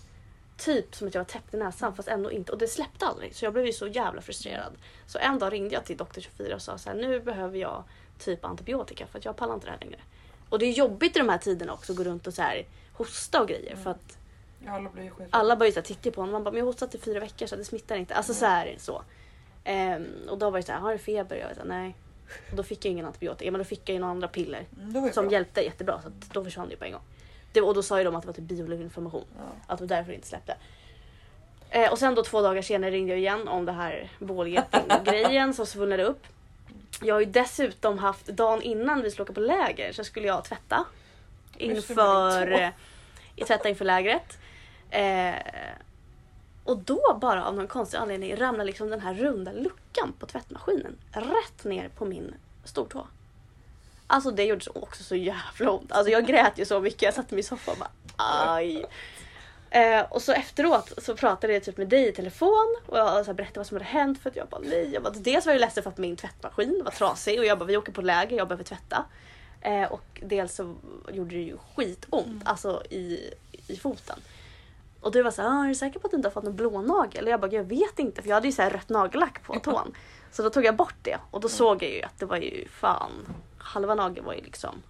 B: Typ som att jag var täppt i näsan fast ändå inte. Och det släppte aldrig. Så jag blev ju så jävla frustrerad. Så en dag ringde jag till doktor 24 och sa så här, nu behöver jag typ antibiotika för att jag pallar inte det här längre. Och det är jobbigt i de här tiderna också att gå runt och så här, hosta och grejer. För att
A: Ja, alla blir ju skit.
B: alla började så här titta på honom. Man bara, men jag har hostat i fyra veckor så det smittar inte. Alltså så här, så. Ehm, och då var det så här, har du feber? Jag var så här, nej. Och då fick jag ingen antibiotika. Men då fick jag ju några andra piller
A: Mm, det var ju
B: som
A: bra.
B: hjälpte jättebra. Så att då försvann det ju på en gång. Det, och då sa ju de att det var typ bioluvinflammation.
A: Ja.
B: Att det var därför det inte släppte. Eh, och sen då två dagar senare ringde jag igen om det här bålgeting-grejen som svullnade upp. Jag har ju dessutom haft, dagen innan vi skulle åka på läger så skulle jag tvätta.
A: Men skulle du
B: Inför,
A: inte?
B: eh, jag tvättade inför lägret. Eh, och då bara av någon konstig anledning ramlar liksom den här runda luckan på tvättmaskinen rätt ner på min stortå. Alltså det gjorde så- också så jävla ont. Alltså jag grät ju så mycket. Jag satt i min soffa och bara aj. Eh, och så efteråt så pratade jag typ med dig i telefon och jag så här berättade vad som hade hänt för att jag bara nej. Jag bara, dels var jag ledsen för att min tvättmaskin var trasig och jag bara vi åker på läger, jag behöver tvätta. Eh, och dels så gjorde det ju skitont alltså i, i foten. Och du var så här, "Ah, är du säker på att du inte har fått någon blånagel? Och jag bara, jag vet inte för jag hade ju så här rött nagellack på tån. Så då tog jag bort det och då såg jag ju att det var ju fan, halva nageln var ju liksom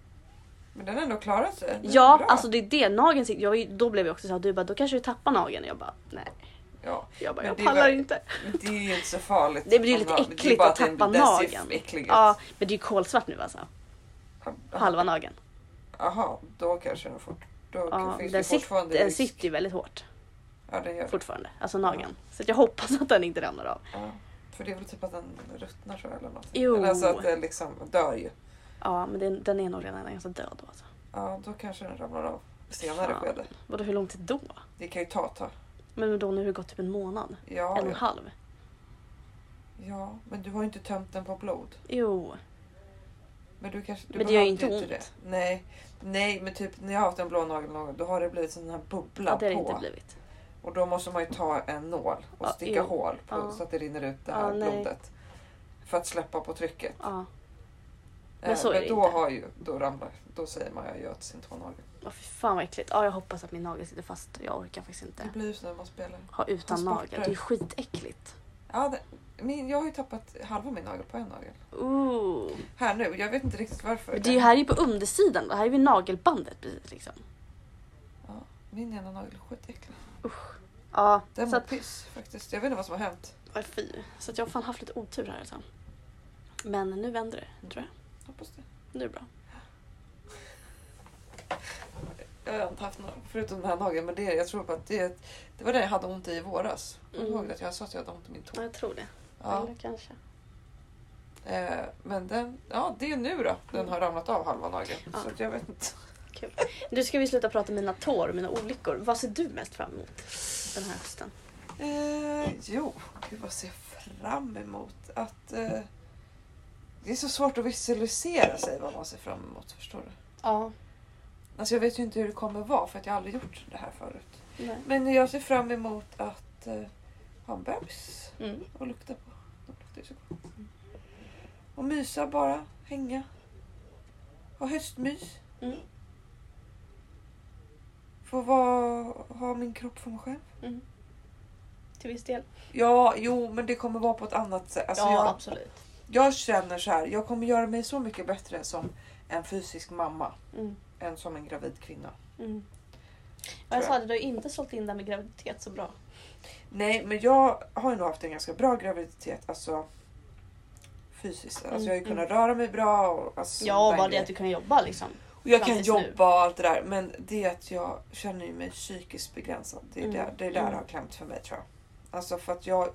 A: Men den har ändå klarat sig. Den är
B: Ja,
A: bra.
B: alltså det är det. Nageln sitter... Jag, var ju- då blev jag också såhär, du bara då kanske du tappar nageln. Och Jag bara nej.
A: Ja.
B: Jag, bara,
A: Men
B: jag
A: det är
B: pallar
A: väl-
B: inte.
A: Men det är ju inte så farligt.
B: Det blir ju
A: om
B: lite
A: man- det är
B: äckligt
A: bara
B: att
A: den-
B: tappa
A: den ser
B: nageln.
A: äcklig ut.
B: Ja, men det är ju kolsvart nu alltså. Halva nageln.
A: Jaha, då kanske den fort... Då
B: Ja,
A: finns
B: den,
A: det
B: sit,
A: fortfarande
B: den
A: risk.
B: sitter ju väldigt hårt
A: Ja, det gör det.
B: fortfarande. Alltså nageln. Så att jag hoppas att den inte ramlar av.
A: Ja. För det är väl typ att den ruttnar så eller något.
B: Jo.
A: Eller alltså att den liksom dör ju.
B: Ja, men den, den är nog redan ganska död då alltså.
A: Ja, då kanske den ramlar av i senare
B: Fan.
A: skede.
B: Vadå hur lång tid då?
A: Det kan ju ta ett tag.
B: Men då nu har det gått typ en månad.
A: Ja,
B: en och en
A: ja.
B: halv.
A: ja, men du har ju inte tömt den på blod.
B: Jo.
A: Men, du kanske, du
B: Men det gör ju
A: behövde
B: inte ont.
A: Det. Nej. Nej, men typ när jag har haft en blå nagel någon gång, då har det blivit sån här bubbla
B: Ja, det har det
A: på.
B: inte blivit.
A: Och då måste man ju ta en nål och
B: Ja,
A: sticka
B: jo.
A: hål på,
B: Ja.
A: så att det rinner ut det
B: Ja,
A: här
B: nej.
A: blodet. För att släppa på trycket.
B: Ja.
A: Eh,
B: så är
A: men
B: det
A: då,
B: inte.
A: har ju, då, ramlar, då säger man jag gör till sin tånagel.
B: Oh, fy fan vad äckligt. Ja, jag hoppas att min nagel sitter fast. Jag orkar faktiskt inte.
A: Det blir ju så när man spelar.
B: ha utan
A: Transporter.
B: nagel. Det är ju skitäckligt.
A: Ja, det, min, jag har ju tappat halva min nagel på en nagel.
B: Ooh.
A: Här nu, jag vet inte riktigt varför.
B: Men det är ju här är ju på undersidan. Det här är vid nagelbandet precis liksom.
A: Min ena nagel är skitäcklig.
B: Ja,
A: Den
B: så
A: mår
B: att,
A: piss faktiskt. Jag vet inte vad som har hänt.
B: aj, fy. Så att jag har fan haft lite otur här alltså. Men nu vänder det tror jag.
A: Hoppas det.
B: Nu är det bra.
A: jag har inte haft några, förutom den här nageln. Men det, jag tror på att det, det var det jag hade ont i i våras. Kommer du
B: Mm.
A: ihåg att jag sa att jag hade ont i min tå?
B: Ja, jag tror det.
A: Ja.
B: Eller kanske.
A: Eh, men den, ja, det är nu då. Den har ramlat av halva nageln.
B: Ja.
A: Så att jag vet inte.
B: Nu ska vi sluta prata om mina tår och mina olyckor. Vad ser du mest fram emot den här hösten?
A: Eh, jo, gud vad ser jag fram emot? Att, eh, det är så svårt att visualisera sig vad man ser fram emot. Förstår du?
B: Ja.
A: Alltså jag vet ju inte hur det kommer vara för att jag har aldrig gjort det här förut.
B: Nej.
A: Men jag ser fram emot att eh, ha en bebis
B: Mm.
A: och lukta på. De luktar ju så gott. Mm. Och mysa bara, hänga. Ha höstmys.
B: Mm.
A: Få vara, ha min kropp för mig själv.
B: Mm. Till viss del.
A: Ja, jo, men det kommer vara på ett annat sätt. Alltså, jag,
B: absolut.
A: Jag känner så här, jag kommer göra mig så mycket bättre som en fysisk mamma
B: Mm.
A: än som en gravid kvinna.
B: Mm. Och
A: Tror
B: jag
A: jag.
B: sa det, du har inte sålt in det här med graviditet så bra.
A: Nej, men jag har ju nog haft en ganska bra graviditet, alltså fysiskt. Alltså,
B: Mm,
A: jag har ju kunnat röra mig bra. Och, alltså,
B: Ja,
A: sådana
B: bara
A: där
B: det att du kan jobba liksom.
A: Och jag
B: fram
A: kan
B: tills nu.
A: jobba och allt det där, men det är att jag känner ju mig psykiskt begränsad. Det är
B: Mm,
A: där det är där
B: mm.
A: har klämt för mig tror jag. Alltså för att jag,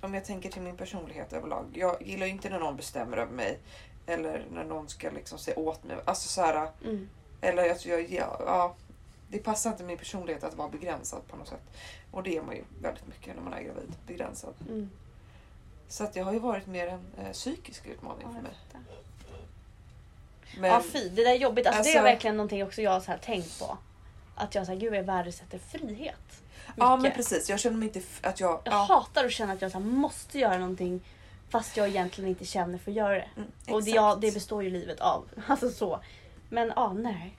A: om jag tänker till min personlighet överlag. Jag gillar ju inte när någon bestämmer över mig. Eller när någon ska liksom säga åt mig. Alltså så här,
B: Mm.
A: Eller att jag, ja, ja, det passar inte min personlighet att vara begränsad på något sätt. Och det är man ju väldigt mycket när man är gravid. Begränsad.
B: Mm.
A: Så att det har ju varit mer en eh, psykisk utmaning
B: Ja,
A: för
B: jag
A: mig.
B: fattar.
A: Men,
B: ja fy, det där är jobbigt. Alltså, det är
A: Alltså-
B: verkligen någonting också jag har så här tänkt på. Att jag så här, gud jag värdesätter frihet.
A: ja men
B: mycket.
A: precis, jag känner mig inte f- att jag...
B: Jag
A: ja,
B: hatar att känna att jag så här, måste göra någonting fast jag egentligen inte känner för att göra det.
A: mm,
B: Och det,
A: exakt.
B: ja, det består ju livet av. Alltså så. Men ja, nej.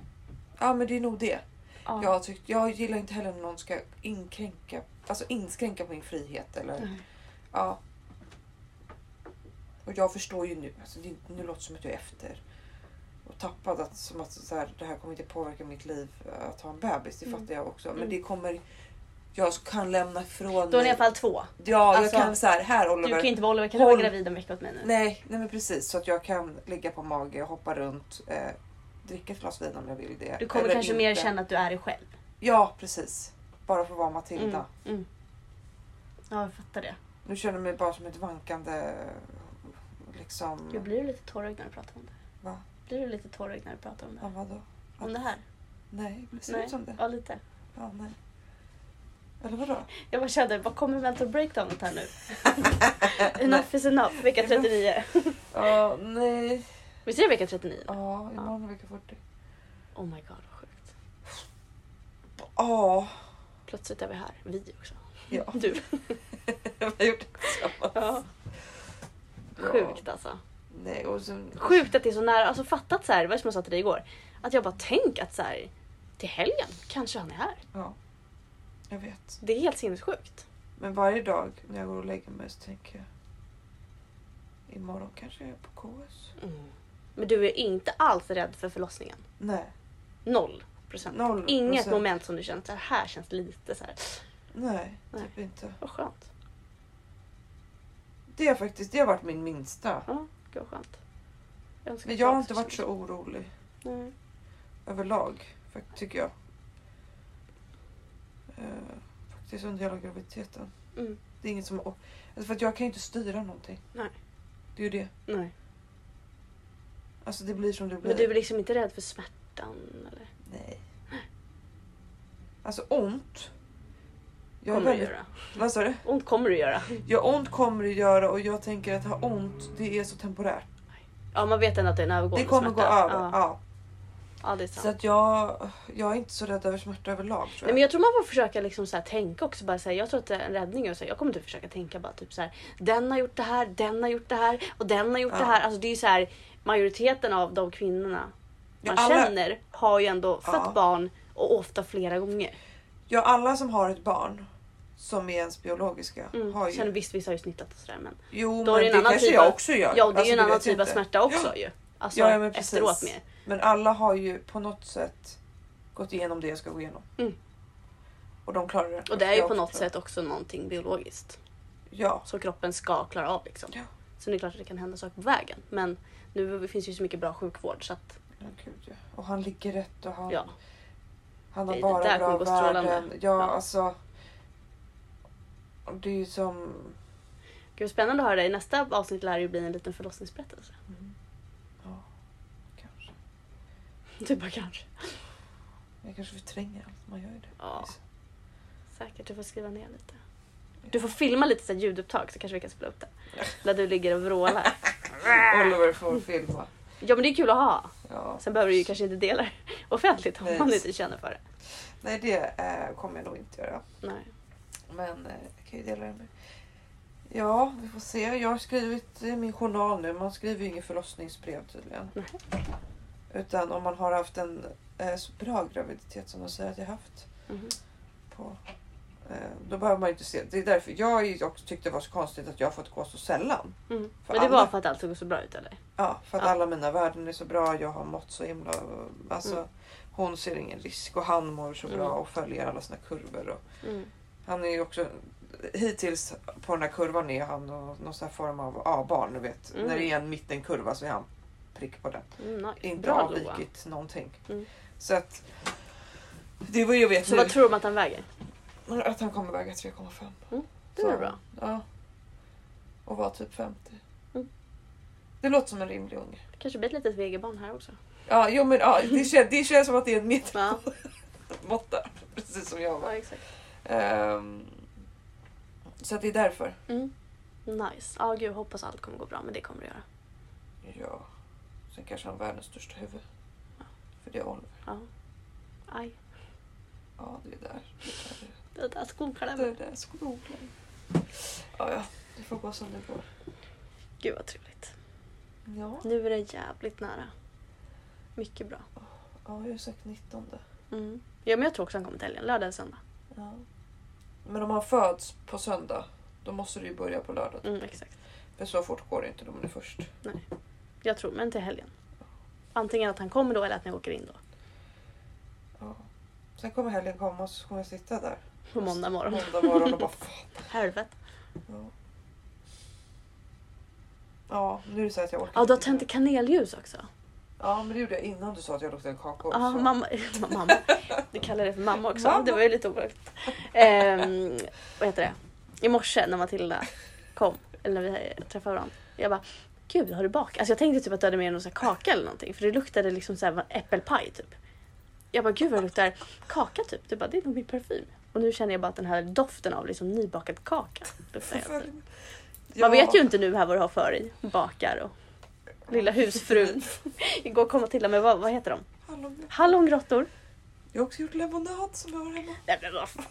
A: Ja men det är nog det.
B: Ja.
A: Jag, har tyckt, jag gillar inte heller när någon ska inkränka, alltså inskränka på min frihet. Eller,
B: Nej.
A: ja. Och jag förstår ju nu, alltså det, nu låter det som att jag är efter och tappad. Att, som att så här, det här kommer inte påverka mitt liv eh, att ha en bebis, det
B: Mm.
A: fattar jag också. Men
B: Mm.
A: det kommer, jag kan lämna ifrån
B: Då är det i alla fall två.
A: Ja,
B: alltså,
A: jag kan så här, här
B: Du
A: Oliver.
B: kan inte vara Oliver, kan du vara
A: Håll-
B: gravid en vecka åt mig nu?
A: Nej, nej men precis. Så att jag kan ligga på mage, hoppa runt, eh, dricka ett glas vin om jag vill det.
B: Du kommer
A: eller
B: kanske mer
A: inte.
B: känna att du är dig själv.
A: Ja, precis. Bara för att vara Matilda.
B: Mm. Mm. Ja, jag fattar det.
A: Nu känner jag mig bara som ett vankande... Liksom...
B: Gud, blir du lite tårögd när du pratar om det?
A: Va?
B: Blir du lite tårögd när du pratar om det?
A: Ja, vadå?
B: Om det här?
A: Nej, det ser
B: Nej.
A: ut som det.
B: Ja, lite.
A: Ja, nej. Eller vadå?
B: Jag bara kände, vad kommer mental breakdownet här nu? enough is enough, vecka 39.
A: Ja, nej.
B: Visst är det vecka 39?
A: Ja, imorgon är vecka 40.
B: Oh my god, vad sjukt.
A: Ja,
B: Plötsligt är vi här. Vi också.
A: ja.
B: Du.
A: Vi har gjort det tillsammans.
B: Ja.
A: Ja.
B: Sjukt alltså.
A: Nej, och sen...
B: Sjukt att det är så nära. Alltså fattat så här, vad som jag sa till dig igår. Att jag bara tänk att så här, till helgen kanske han är här.
A: Ja. Jag vet.
B: Det är helt sinnessjukt.
A: Men varje dag när jag går och lägger mig så tänker jag... Imorgon kanske jag är på KS.
B: Mm. Men du är inte alls rädd för förlossningen?
A: Nej.
B: Noll procent?
A: Noll
B: Inget
A: procent.
B: moment som du känner så här, här känns lite så här.
A: Nej,
B: Nej.
A: typ inte.
B: Vad skönt.
A: Det har faktiskt det har varit min minsta.
B: Ja, gud vad skönt. Jag önskar
A: Men
B: att
A: jag har
B: också
A: inte varit så
B: kände
A: orolig.
B: så. Nej.
A: överlag, fakt- tycker jag. Eh, faktiskt under hela graviditeten.
B: Mm.
A: Det är inget som... och- Alltså för att jag kan ju inte styra någonting.
B: Nej.
A: Det är ju det.
B: Nej.
A: Alltså det blir som det blir.
B: Men du är liksom inte rädd för smärtan eller?
A: Nej. Alltså ont. Jag är
B: Kommer du
A: väldigt...
B: göra.
A: Vad sa du?
B: Ont kommer du göra.
A: Ja, ont kommer det göra och jag tänker att ha ont, det är så temporärt.
B: Ja man vet ändå att det är en övergående
A: Det kommer gå
B: smärta.
A: över. Ja.
B: Ja. ja det är sant.
A: Så att jag, jag är inte så rädd över smärta överlag tror
B: Nej,
A: jag.
B: men jag tror man får försöka liksom så här tänka också. Bara så här, jag tror att det är en räddning. är att så här, jag kommer inte försöka tänka bara typ så här. Den har gjort det här, den har gjort det här och den har gjort
A: Ja.
B: det här. Alltså det är ju så här majoriteten av de kvinnorna
A: Ja,
B: man
A: alla-
B: känner har ju ändå fött
A: Ja.
B: barn och ofta flera gånger.
A: Ja, alla som har ett barn som är ens biologiska
B: Mm.
A: har ju...
B: Sen visst, vissa har ju snittat och sådär men.
A: Jo, men
B: Då är det
A: det
B: en annan
A: kanske
B: typ
A: jag
B: av-
A: också gör.
B: Ja, och det är
A: Alltså,
B: ju en annan
A: vet jag
B: typ av
A: inte.
B: smärta också ju. Alltså
A: Ja, ja, men precis.
B: efteråt mer.
A: Men alla har ju på något sätt gått igenom det jag ska gå igenom.
B: Mm.
A: Och de klarar det.
B: Och det är ju
A: Jag
B: på något
A: också
B: sätt också någonting biologiskt.
A: Ja.
B: Så kroppen ska klara av liksom.
A: Ja.
B: Så det är klart att det kan hända saker på vägen. Men nu finns ju så mycket bra sjukvård så att
A: Men gud, ja. Och han ligger rätt och han...
B: ja.
A: Han har
B: Det- det
A: bara
B: där
A: bra
B: kommer gå strålande.
A: värden. Ja,
B: Ja.
A: alltså. Det är ju som.
B: Gud vad spännande att höra dig. Nästa avsnitt lär ju bli en liten förlossningsberättelse.
A: Ja, kanske.
B: Du
A: Typ
B: bara kanske.
A: Jag kanske förtränger allt. Man gör ju det.
B: Ja, säkert. Du får skriva ner lite. Du får filma lite så här ljudupptag så kanske vi kan spela upp det. När du ligger och vrålar.
A: Oliver får filma.
B: Ja men det är kul att ha.
A: Ja.
B: Sen behöver du ju kanske inte dela det offentligt om
A: Nej.
B: man inte känner för det.
A: Nej, det eh, kommer jag nog inte göra.
B: Nej.
A: Men eh, jag kan ju dela det med. Ja, vi får se. Jag har skrivit i min journal nu. Man skriver ju inget förlossningsbrev tydligen.
B: Nej.
A: Utan om man har haft en eh, så bra graviditet som de säger att jag haft.
B: Mhm.
A: På, eh, då behöver man ju inte se. Det är därför jag ju också tyckte det var så konstigt att jag har fått gå så sällan.
B: Mm.
A: För
B: Men det var
A: alla-
B: för att allt såg så bra ut eller?
A: Ja, för att
B: Ja.
A: alla mina värden är så bra. Jag har mått så himla... Alltså,
B: Mm.
A: Hon ser ingen risk och han mår så bra
B: Mm.
A: och följer alla sina kurvor. Och
B: Mm.
A: han är ju också... Hittills på den här kurvan är han nå- någon sån här form av A-barn. Du vet.
B: Mm.
A: När det är en mittenkurva så är han prick på den.
B: Mm, nice.
A: Inte
B: Bra Loa.
A: avvikit någonting.
B: Mm.
A: Så att... Det är vad jag vet
B: Så
A: nu.
B: vad tror de att han väger?
A: Att han kommer väga 3,5.
B: Mm. Det är
A: Så-
B: bra.
A: Ja. Och vara typ 50.
B: Mm.
A: Det låter som en rimlig unge.
B: Det kanske blir ett litet vegebarn här också.
A: Ja, jo, men, ja det, känns, det känns som att det är en
B: Ja,
A: mittenmåtta. Precis som jag var.
B: ja exakt.
A: Ehm, så att det är därför.
B: Mm. Nice. Ja gud hoppas allt kommer gå bra men det kommer det göra.
A: Ja. Sen kanske han har världens största huvud. För det är Oliver.
B: Ja. Aj.
A: Ja, det är där.
B: Det där
A: Det är
B: skolklämmen.
A: där skolan. Ja, ja. Det får gå som det går.
B: Gud vad trevligt.
A: Ja,
B: Nu är det jävligt nära. Mycket bra.
A: ja jag har ju sagt 19.
B: Mm. Ja men jag tror också han kommer till helgen. Lördag eller söndag.
A: Ja. Men om han föds på söndag, då måste det ju börja på lördag.
B: Mm, exakt.
A: För så fort går det inte, då man är först.
B: Jag tror, men till helgen. Antingen att han kommer då eller att ni åker in då.
A: Ja. Sen kommer helgen komma och så kommer jag sitta där.
B: På måndag morgon.
A: Måndag morgon och bara fan.
B: Helvete.
A: Ja. Ja, nu är det så att jag orkar
B: Ja, du har
A: inte.
B: tänt kanelljus också.
A: Ja, men det gjorde jag innan du sa att jag luktade kakor.
B: Ja,
A: så.
B: mamma, mamma. Du kallar det för mamma också.
A: Mamma.
B: Det var ju lite obehagligt. Ehm, vad heter det? I morse när Matilda kom, eller när vi träffade varandra. Jag bara, gud har du bakat? Alltså jag tänkte typ att du hade med dig någon sån här kaka eller någonting. För det luktade liksom så här äppelpaj typ. Jag bara, gud vad det luktar kaka typ. Du bara, det är nog min parfym. Och nu känner jag bara att den här doften av liksom nybakad kaka luktar jag. typ.
A: Alltså, Ja.
B: Man vet ju inte nu här vad du har för dig. Bakar och lilla husfrun. Igår kom Matilda med, vad, vad heter de?
A: Hallon.
B: Hallongrottor.
A: Jag har också gjort lemonad som jag har hemma.
B: Nej, men vad fan.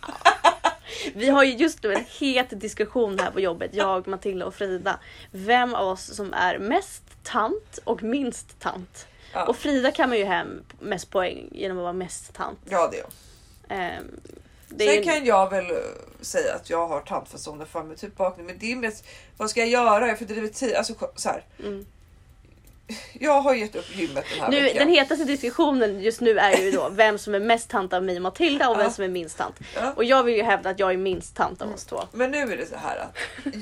B: Vi har ju just nu en het diskussion här på jobbet, jag, Matilda och Frida. Vem av oss som är mest tant och minst tant.
A: Ja.
B: Och Frida kan man ju hem mest poäng genom att vara mest tant.
A: Ja, det är jag.
B: Ehm, det är
A: Sen
B: ju-
A: kan jag väl eh, säga att jag har tantfasoner för mig, typ bakning. Men det är mest, vad ska jag göra? Jag fördriver tid. Alltså ko- så här.
B: Mm.
A: Jag har gett upp gymmet den här
B: Nu,
A: veckan.
B: den hetaste diskussionen just nu är ju då vem som är mest tant av mig och Matilda och vem
A: Ja.
B: som är minst tant.
A: Ja.
B: Och jag vill ju hävda att jag är minst tant av oss två.
A: Men nu är det så här att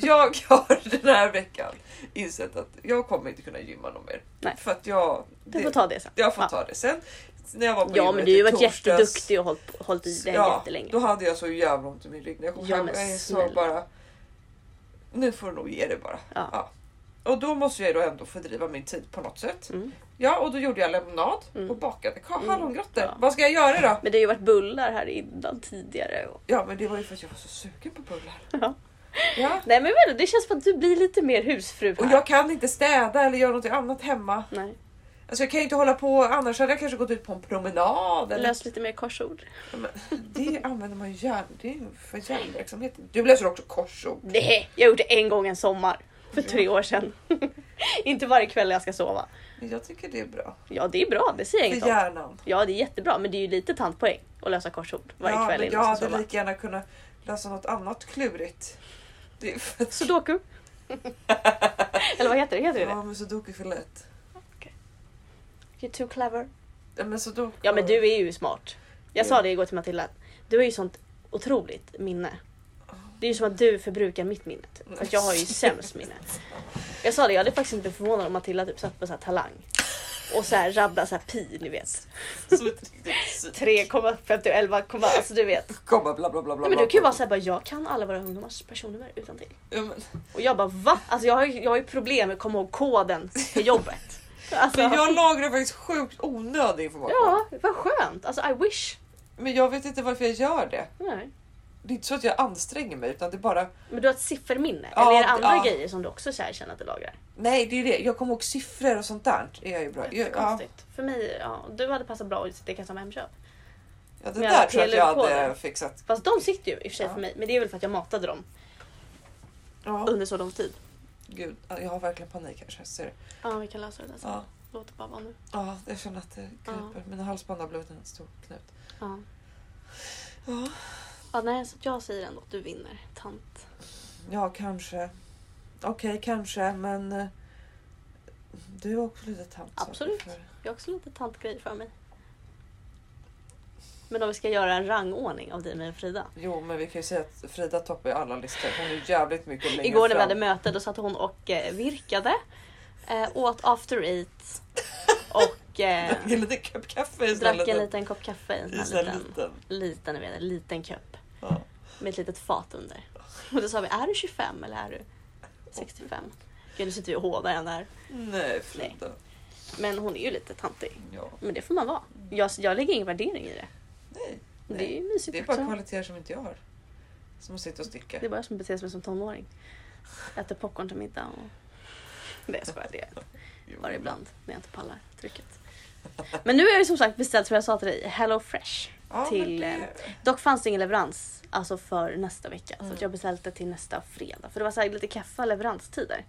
A: jag har den här veckan insett att jag kommer inte kunna gymma någon mer.
B: Nej.
A: För att jag...
B: Du
A: det-
B: får ta det sen.
A: Jag får
B: Ja.
A: ta det sen. När jag var på
B: Ja men
A: gymmet
B: du har ju
A: i
B: varit
A: torsdags-
B: jätteduktig och hållit, hållit i det jättelänge.
A: Då hade jag så jävla ont i min rygg när jag kom
B: Ja,
A: hem.
B: men
A: Jag insåg
B: snälla.
A: bara... Nu får du nog ge dig bara.
B: Ja.
A: Och då måste jag då ändå fördriva min tid på något sätt.
B: Mm.
A: Ja, och då gjorde jag lemonad och bakade ka- hallongrottor.
B: Ja.
A: Vad ska jag göra då?
B: Men det har ju varit bullar här innan tidigare. Och...
A: Ja, men det var ju för att jag var så sugen på bullar.
B: Ja.
A: Ja.
B: Nej men vadå, det känns som att du blir lite mer husfru här.
A: Och jag kan inte städa eller göra något annat hemma.
B: Nej,
A: Alltså jag kan ju inte hålla på, annars hade jag kanske gått ut på en promenad. Eller...
B: lös lite mer korsord.
A: Men det använder man ju gärna, det är ju för hjärnverksamheten. Du läser också korsord.
B: Nej, jag gjorde en gång en sommar. För tre år sedan. inte varje kväll jag ska sova.
A: Men Jag tycker det är bra.
B: Ja det är bra, det säger jag
A: För
B: inget om.
A: hjärnan.
B: Ja det är jättebra men det är ju lite tantpoäng att lösa korsord varje
A: ja,
B: kväll
A: men
B: innan
A: jag
B: jag ska
A: hade
B: sova.
A: lika gärna kunnat läsa något annat klurigt. Det är för att...
B: Sudoku. Eller vad heter det? Heter det det?
A: Ja men sudoku är för lätt.
B: You're too clever.
A: Ja men sudoku...
B: Ja men du är ju smart. Jag
A: Ja.
B: sa det igår till Matilda. Du har ju sånt otroligt minne. Det är ju som att du förbrukar mitt minne. Typ. Fast jag har ju sämst minne. Jag sa det, jag hade faktiskt inte blivit förvånad om Matilda typ satt på så här talang. Och så här rabbla så här pi, ni vet.
A: Som ett riktigt
B: 3,51, alltså du vet.
A: komma bla bla bla bla.
B: Nej, men du
A: bla,
B: kan ju
A: bla.
B: vara såhär bara, jag kan alla våra ungdomars personnummer utan till.
A: Ja, men,
B: Och jag bara va? Alltså jag har ju, jag har ju problem med att komma ihåg koden till jobbet. Alltså,
A: men jag lagrar faktiskt sjukt onödig information.
B: Ja, vad skönt. Alltså I wish.
A: Men jag vet inte varför jag gör det.
B: Nej.
A: Det är inte så att jag anstränger mig utan det är bara
B: Men du har ett sifferminne?
A: Ja,
B: Eller är det andra
A: ja.
B: grejer som du också så här känner att du lagrar?
A: Nej, det är det. Jag kommer ihåg siffror och sånt där. Det är jag ju bra. Jag, ja,
B: Jättekonstigt. För mig, ja, du hade passat bra att sticka som Hemköp.
A: ja, det
B: Med
A: där
B: alla
A: tror jag att jag hade
B: PLU-koder.
A: fixat.
B: Fast de sitter ju i och för sig
A: Ja.
B: för mig. Men det är väl för att jag matade dem
A: Ja,
B: under så lång tid.
A: gud. ja, Jag har verkligen panik här. Så jag ser det.
B: Ja, vi kan lösa det där sen.
A: Ja.
B: Låt det bara vara nu.
A: ja, jag känner att det
B: Ja.
A: kryper. Mina halsband har blivit en stor knut.
B: Ja.
A: Ja,
B: ja nej, så att jag säger ändå att du vinner, tant.
A: ja kanske. Okej, kanske. Men eh, du är också lite tant. sa du
B: Absolut.
A: för-
B: Jag har också lite tantgrej för mig. Men om vi ska göra en rangordning av dig med Frida.
A: Jo, men vi kan ju säga att Frida toppar ju alla listor. Hon är jävligt mycket längre
B: Igår när vi
A: fram.
B: hade möte då satt hon och eh, virkade. Eh, åt after eight. Och eh,
A: Drack en liten kopp kaffe
B: drack
A: istället.
B: en liten kopp kaffe i en
A: I
B: sån här
A: sån
B: liten,
A: liten.
B: liten, jag vet, en liten kopp.
A: Ja.
B: Med ett litet fat under. Och då sa vi, är du 25 eller är du 65? Gud, nu sitter vi och hånar henne här.
A: Nej, Frida.
B: Men hon är ju lite tantig.
A: Ja.
B: Men det får man vara. Jag, jag lägger ingen värdering i det.
A: Nej.
B: Men
A: Nej.
B: Det är ju mysigt
A: Det är
B: också.
A: bara kvaliteter som inte jag har. Som att sitta och sticka.
B: Typ Det är bara jag som beter mig som tonåring. Äter popcorn till middag och... Nej jag skojar, det gör jag inte. bara ibland när jag inte pallar trycket. Men nu har jag ju som sagt beställt som jag sa till dig, Hello Fresh.
A: Ja, men
B: till,
A: det-
B: eh, Dock fanns det ingen leverans alltså för nästa vecka så
A: Mm.
B: att jag beställde till nästa fredag. För det var så här lite kaffa leveranstider.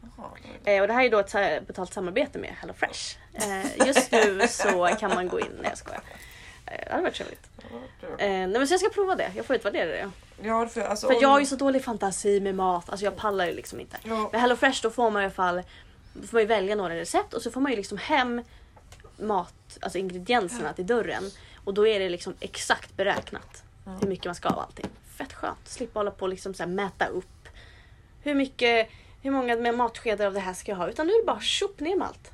A: Jaha, det var det.
B: Eh, och det här är då ett så här betalt samarbete med Hello Fresh. Eh, just nu så kan man gå in, nej jag skojar. Eh, det hade varit trevligt.
A: Ja, det-
B: Eh, nej men så jag ska prova det, jag får utvärdera det.
A: Ja, för, alltså,
B: För
A: om-
B: jag har ju så dålig fantasi med mat, alltså jag pallar ju liksom inte.
A: Ja,
B: Med HelloFresh då får man i alla fall då får man ju välja några recept och så får man ju liksom hem mat, alltså ingredienserna till dörren. Och då är det liksom exakt beräknat
A: Ja.
B: hur mycket man ska ha av allting. Fett skönt, slippa hålla på och liksom så här mäta upp. Hur mycket, hur många med matskedar av det här ska jag ha? Utan nu är det bara tjopp ner med allt.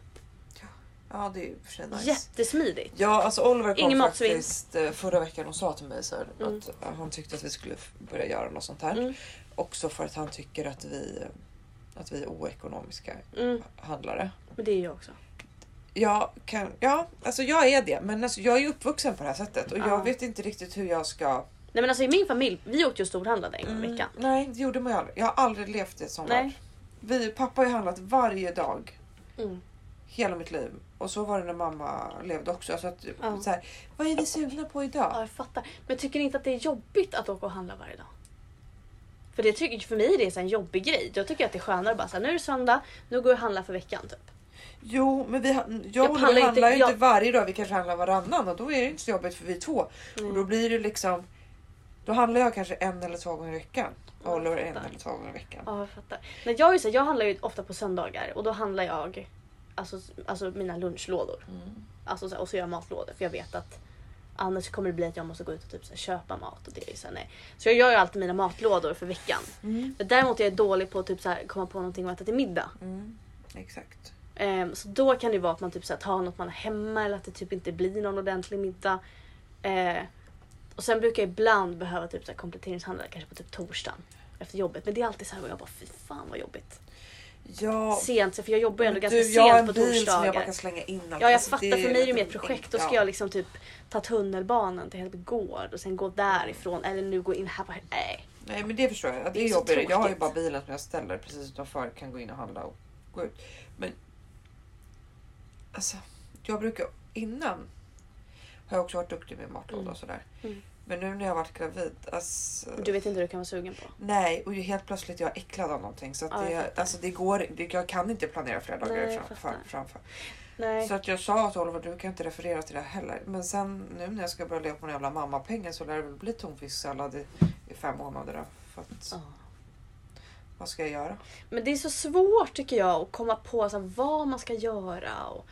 A: ja, det är ju i och för sig nice.
B: Jättesmidigt.
A: Ja, alltså Oliver kom
B: Ingen matsvinn.
A: faktiskt eh, förra veckan och sa till mig så här,
B: Mm.
A: att eh, han tyckte att vi skulle f- börja göra något sånt här.
B: Mm.
A: Också för att han tycker att vi, eh, att vi är oekonomiska
B: Mm,
A: handlare.
B: men det är jag också.
A: Jag kan, ja, alltså jag är det, men alltså jag är ju uppvuxen på det här sättet och
B: Ja.
A: jag vet inte riktigt hur jag ska... Mm,
B: Nej men alltså i min familj, vi åkte ju och storhandlade en gång i veckan.
A: nej, det gjorde man ju aldrig. Jag har aldrig levt i ett sånt
B: Nej.
A: värld. Vi, pappa har ju handlat varje dag
B: Mm.
A: hela mitt liv. Och så var det när mamma levde också. Så att,
B: Ja.
A: så här, vad är vi sugna på
B: Ja,
A: idag?
B: jag fattar. Men tycker ni inte att det är jobbigt att åka och handla varje dag? För, det tycker, för mig är det så en jobbig grej. Jag tycker att det är skönare bara så här, nu är det söndag, nu går jag och handlar för veckan typ.
A: Jo, men vi, han- jag
B: Jag
A: och
B: pallar
A: Oliver
B: inte-
A: handlar ju
B: jag-
A: inte varje dag. Vi kanske handlar varannan och då är det inte så jobbigt för vi är två. Och
B: Mm.
A: då blir det liksom... Då handlar jag kanske en eller två gånger i veckan.
B: Ja,
A: Och Oliver
B: jag
A: en
B: fattar.
A: eller två gånger i veckan.
B: Ja, jag fattar. Nej, jag, är ju så här, jag handlar ju ofta på söndagar och då handlar jag alltså, alltså mina lunchlådor.
A: Mm.
B: Alltså, så här, och så gör jag matlådor för jag vet att annars kommer det bli att jag måste gå ut och typ, så här, köpa mat. Och det är ju så, här, nej. så jag gör ju alltid mina matlådor för veckan.
A: Mm.
B: Men däremot är jag dålig på att typ, så här, komma på någonting att äta till middag.
A: Mm. Exakt.
B: Ehm, så då kan det vara att man typ så här, tar något man har hemma eller att det typ inte blir någon ordentlig middag. Eh, och sen brukar jag ibland behöva typ så här, kompletteringshandla kanske på typ torsdagen efter jobbet. Men det är alltid så här och jag bara fy fan vad jobbigt.
A: Ja,
B: Sent, för jag jobbar ju ändå
A: men
B: ganska
A: du,
B: sent
A: jag har en
B: på
A: bil som jag bara
B: torsdagar.
A: kan slänga in allt.
B: Ja jag
A: Alltså,
B: fattar,
A: det
B: för mig är det mer ett
A: lite
B: projekt. Då
A: enkelt.
B: ska
A: Ja.
B: jag liksom typ ta tunnelbanan till Hällby gård och sen gå därifrån eller nu gå in här. Bara, nej.
A: Nej men det förstår jag. Det,
B: är
A: är
B: så
A: jobbigare. Jag har ju
B: tråkigt.
A: bara bilen som jag ställer precis utanför. Kan gå in och handla och gå ut. Men alltså, jag brukar innan har jag också varit duktig med matlåda
B: Mm.
A: och sådär.
B: Mm.
A: Men nu när jag har varit gravid, alltså,
B: Du vet inte vad du kan vara sugen på.
A: nej och ju helt plötsligt är jag äcklad av någonting så att
B: Ja, jag
A: det,
B: fattar.
A: alltså, det går det, Jag kan inte planera flera dagar
B: Nej, jag
A: fram,
B: fattar.
A: fram, framför.
B: Nej.
A: Så att jag sa till Oliver, du kan inte referera till det här heller. Men sen nu när jag ska börja leva på den jävla mammapengen så lär det väl bli tonfisksallad i, i fem månader då. För att,
B: Ja.
A: vad ska jag göra?
B: Men det är så svårt tycker jag att komma på så här, vad man ska göra. Och...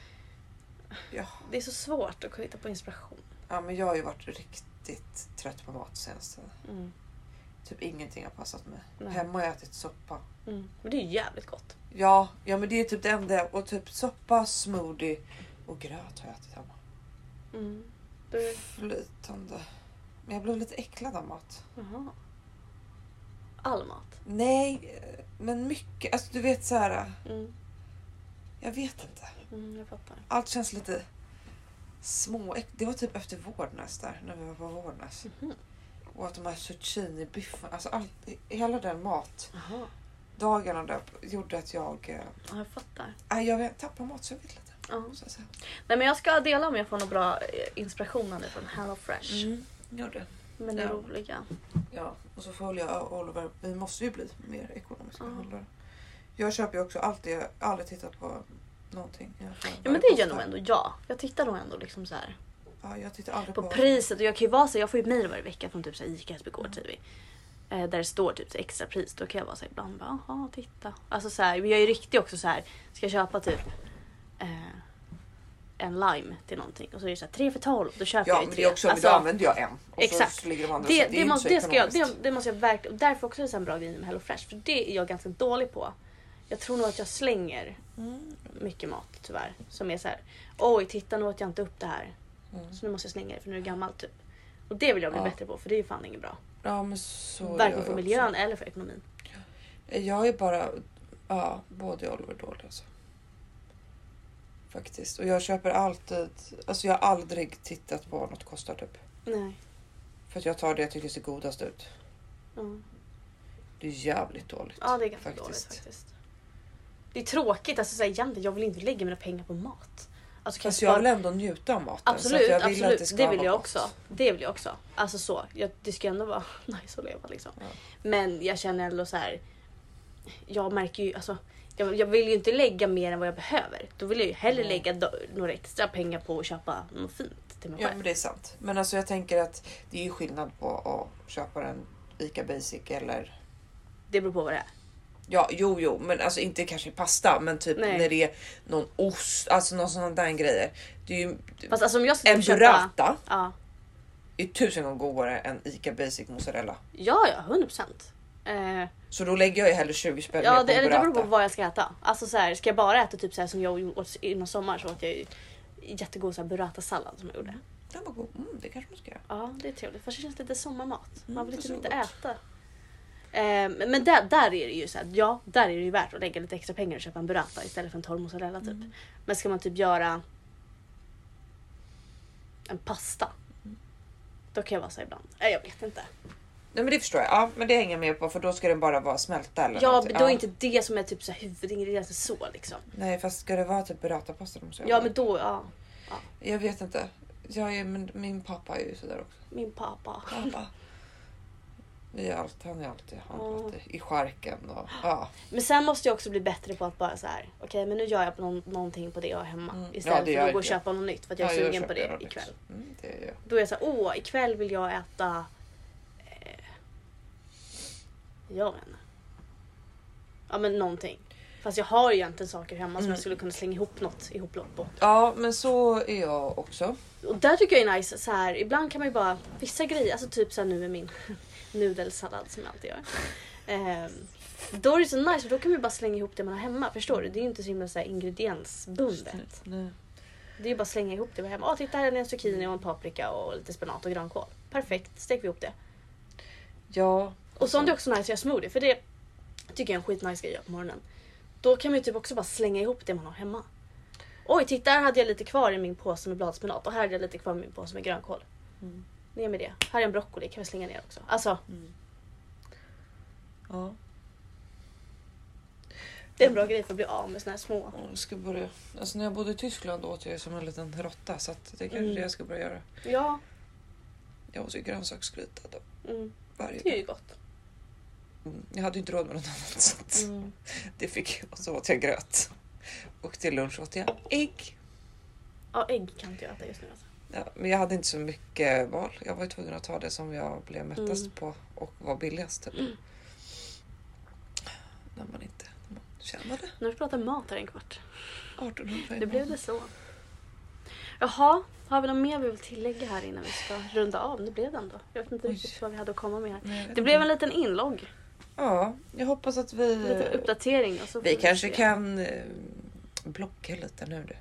A: Ja.
B: Det är så svårt att hitta på inspiration. Mm.
A: Ja, men jag har ju varit riktigt trött på mat senaste Typ ingenting har passat mig.
B: Nej.
A: Hemma har jag ätit soppa.
B: Mm. Men det är ju jävligt gott.
A: Ja, ja men det är typ det enda. Och typ soppa, smoothie och gröt har jag ätit hemma.
B: Mm. Du...
A: Flytande. Men jag blev lite äcklad av mat.
B: Jaha. All mat.
A: Nej, eh, men mycket. Alltså du vet så här.
B: Mm.
A: Jag vet inte.
B: Mm, jag fattar.
A: Allt känns lite små. Det var typ efter Vårdnäs där, när vi var på Vårdnäs.
B: Mhm.
A: Och att de här zucchini-biffarna, alltså allt, hela den matdagarna
B: Jaha.
A: där gjorde att jag... eh,
B: Ja, jag fattar.
A: Nej, jag tappade matsuget lite.
B: Ja.
A: Så att säga.
B: Nej men jag ska dela om jag får någon bra eh, inspiration här nu från Hello Fresh.
A: Gjorde.
B: Men det
A: Ja.
B: roliga.
A: Ja, och så får jag och Oliver, vi måste ju bli mer ekonomiska
B: Ja.
A: handlare. Jag köper ju också alltid, jag har aldrig tittat på någonting. Jag får-
B: Ja men det gör nog ändå jag. Jag tittar nog ändå liksom så här
A: Ja, jag tittar aldrig på...
B: på priset och jag kan ju vara så jag får ju mejl varje vecka från typ så här ICA, Hässelby
A: Mm.
B: Gård säger vi. Eh, Där det står typ så här extra pris. Då kan jag vara så här ibland bara jaha titta. Alltså så här, men jag är ju riktig också så här. Ska jag köpa typ eh, en lime till någonting och så är det så här tre för 12. Då köper
A: Ja,
B: jag ju
A: men
B: tre.
A: det är också,
B: Alltså,
A: då använder jag en. Och
B: exakt.
A: så ligger de andra
B: det,
A: så
B: det,
A: är inte
B: måste,
A: så
B: det, ska jag,
A: ekonomiskt.
B: det, det måste jag verkligen... och Därför också är det så en bra grej med HelloFresh. För det är jag ganska dålig på. Jag tror nog att jag slänger
A: Mm.
B: mycket mat tyvärr. Som är så här. Oj, titta nu åt jag inte upp det här.
A: Mm.
B: Så nu måste jag slänga det för nu är det gammalt typ. Och det vill jag bli
A: Ja.
B: bättre på för det är ju fan inget bra.
A: Ja, men så gör
B: Varken
A: jag
B: för
A: också.
B: miljön eller för ekonomin.
A: Jag är bara... Ja, både jag och Oliver dålig alltså. Faktiskt. Och jag köper alltid... Alltså jag har aldrig tittat på vad något kostar typ.
B: Nej.
A: För att jag tar det jag tycker ser godast ut.
B: Mm.
A: Det är jävligt dåligt.
B: Ja det är ganska
A: Faktiskt.
B: dåligt faktiskt. Det är tråkigt. Alltså, så här, egentligen, jag vill inte lägga mina pengar på mat. Alltså, kan
A: Fast
B: spara-
A: jag vill ändå njuta av maten.
B: Absolut,
A: jag
B: absolut.
A: ska
B: det
A: vara
B: vill jag
A: gott.
B: också. Det vill jag också. Alltså så. Jag, det ska ju ändå vara nice att leva liksom.
A: Ja.
B: Men jag känner ändå så här. Jag märker ju, alltså. Jag, jag vill ju inte lägga mer än vad jag behöver. Då vill jag ju hellre
A: Mm.
B: lägga do, några extra pengar på att köpa något fint till mig
A: Ja
B: själv.
A: men det är sant. Men alltså jag tänker att det är ju skillnad på att köpa en ICA Basic eller
B: Det beror på vad det är.
A: Ja, jo, jo, men alltså inte kanske i pasta, men typ
B: Nej.
A: när det är någon ost, alltså någon sån där grejer. Det är ju,
B: Fast alltså om jag skulle
A: en
B: köpa...
A: burrata
B: Ja,
A: är tusen gånger godare än ICA Basic mozzarella.
B: ja, ja, 100 procent. Eh,
A: Så då lägger jag ju hellre 20 spänn
B: ja,
A: mer
B: det,
A: på en
B: eller det beror på
A: burrata.
B: vad jag ska äta. Alltså så här, ska jag bara äta typ så här som jag åt innan sommar så åt jag ju jättegod så här burrata-sallad som jag gjorde.
A: Den var god. Mm, det kanske man ska göra.
B: Ja, det är trevligt. Fast det känns lite sommarmat.
A: Mm,
B: Man vill
A: det
B: liksom
A: är
B: inte
A: så gott.
B: äta. Ehm, men där, där är det ju så här, ja, där är det ju värt att lägga lite extra pengar och köpa en burrata istället för en torr mozzarella typ.
A: Mm.
B: Men ska man typ göra en pasta.
A: Mm.
B: Då kan jag vara så här ibland. Nej, jag vet inte.
A: Nej, men det förstår jag. Ja, men det hänger jag med på för då ska den bara vara smälta eller
B: Ja,
A: någonting.
B: men då är inte det som är typ så här huvudingrediensen så liksom.
A: Nej, fast ska det vara typ burratapasta? de måste
B: Ja,
A: göra?
B: men då, ja.
A: Jag vet inte. Jag är, men min pappa är ju sådär också.
B: Min pappa.
A: Pappa. Vi har alltid, han har alltid handlat
B: Mm.
A: i skärken och ja.
B: Men sen måste jag också bli bättre på att bara så här. okej men nu gör jag på någon, någonting på det jag har hemma.
A: Mm. Ja,
B: Istället
A: det
B: för
A: gör
B: att gå och
A: inte jag.
B: köpa något nytt för att jag är
A: Ja,
B: sugen på
A: köper
B: det
A: något nytt.
B: ikväll.
A: Mm, det gör jag.
B: Då är jag såhär, åh ikväll vill jag äta... Eh, jag vet inte. Ja men någonting. Fast jag har ju egentligen saker hemma som
A: Mm.
B: jag skulle kunna slänga ihop något ihoplopp på.
A: Ja, men så är jag också.
B: Och där tycker jag är nice, så här, ibland kan man ju bara, vissa grejer, alltså typ såhär nu med min nudelsallad som jag alltid gör. Eh, då är det så nice för då kan man ju bara slänga ihop det man har hemma, förstår du? Det är ju inte så himla så här ingrediensbundet.
A: Nej.
B: Det är ju bara att slänga ihop det vi har hemma. Åh titta här är en zucchini och en paprika och lite spenat och grönkål. Perfekt, stekte vi ihop det.
A: Ja.
B: Och sånt är också nice att göra smoothie för det tycker jag är en skitnice grej att göra på morgonen. Då kan man ju typ också bara slänga ihop det man har hemma. Oj, titta här hade jag lite kvar i min påse med bladspenat och här hade jag lite kvar i min påse med grönkål.
A: Mm.
B: Ner med det. Här är en broccoli, kan vi slänga ner också. Alltså,
A: Ja.
B: det är en bra grej för att bli av med såna här små.
A: Jag ska börja. Alltså när jag bodde i Tyskland åt jag som en liten råtta så att det är kanske
B: Mm.
A: det jag ska börja göra.
B: Ja,
A: Jag åt ju grönsaksgryta då,
B: mm.
A: varje
B: det är ju
A: dag.
B: gott.
A: Mm. Jag hade ju inte råd med något annat så att
B: Mm.
A: det fick jag. Och så åt jag gröt. Och till lunch åt jag ägg.
B: Ja, ägg kan inte jag äta just nu. Alltså.
A: Ja, men jag hade inte så mycket val. Jag var ju tvungen att ta det som jag blev mättast
B: Mm.
A: på och var billigast. Typ. När man inte när man tjänade
B: Nu har vi pratat mat här en kvart.
A: 1800 i
B: Det blev
A: månaden.
B: det så. Jaha, har vi något mer vi vill tillägga här innan vi ska runda av? Nu blev den då. Jag vet inte
A: Oj.
B: riktigt vad vi hade att komma med här.
A: Nej, jag vet
B: Det blev
A: inte.
B: en liten inlogg,
A: Ja, jag hoppas att vi...
B: en liten uppdatering. Och så får
A: Mm. Vi kanske
B: se.
A: kan eh, blogga lite nu du.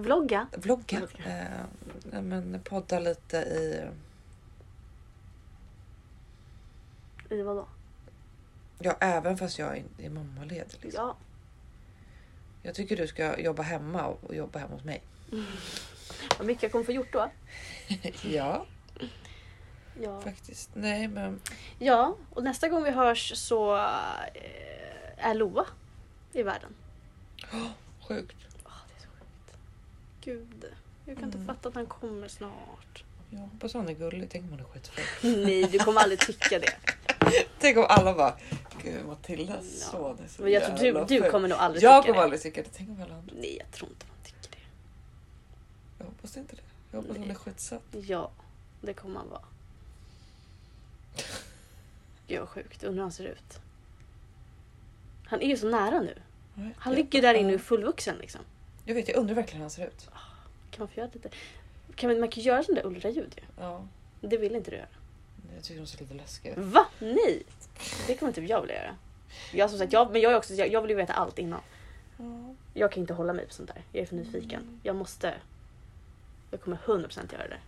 B: Vlogga.
A: Vlogga.
B: Vlogga.
A: Eh, nej, men podda lite i...
B: I vad då?
A: Ja, även fast jag är i mammaled. Liksom.
B: Ja.
A: Jag tycker du ska jobba hemma och jobba hemma hos mig.
B: Vad mycket jag kommer få gjort då.
A: Ja,
B: Ja.
A: faktiskt. Nej, men
B: ja, och nästa gång vi hörs så eh, är Loa i världen.
A: sjukt.
B: Åh, det är så sjukt. Gud, jag kan
A: Mm.
B: inte fatta att han kommer snart.
A: Jag hoppas han är gullig. Tänk om han är skitful.
B: Nej, du kommer aldrig tycka det.
A: Tänk om alla bara, gud Matildas
B: Ja.
A: son är så
B: Men jag tror
A: jävla
B: du, du
A: ful."
B: kommer nog aldrig
A: Jag
B: tycka
A: kommer
B: det.
A: aldrig tycka det. Tänk om alla andra.
B: Nej, jag tror inte man tycker det.
A: Jag hoppas inte det. Jag hoppas hon är
B: Nej.
A: skitsöt.
B: Ja, det kommer man vara. Gud vad sjukt, undrar hur han ser ut. Han är ju så nära nu.
A: Nej,
B: Han
A: jag-
B: ligger där inne
A: ja.
B: och är fullvuxen liksom.
A: Jag vet, jag undrar verkligen hur han ser ut.
B: Kan man få göra lite? Kan man, man kan göra sådana där ultraljud ju.
A: Ja,
B: Det vill inte du göra.
A: jag tycker hon ser lite läskig ut.
B: Va? Nej! Det kommer typ jag vilja göra. Jag som sagt, jag, men jag, är också, jag, jag vill ju veta allt innan.
A: Ja.
B: Jag kan inte hålla mig på sånt där. Jag är för
A: Mm.
B: nyfiken. Jag måste. Jag kommer 100% göra det.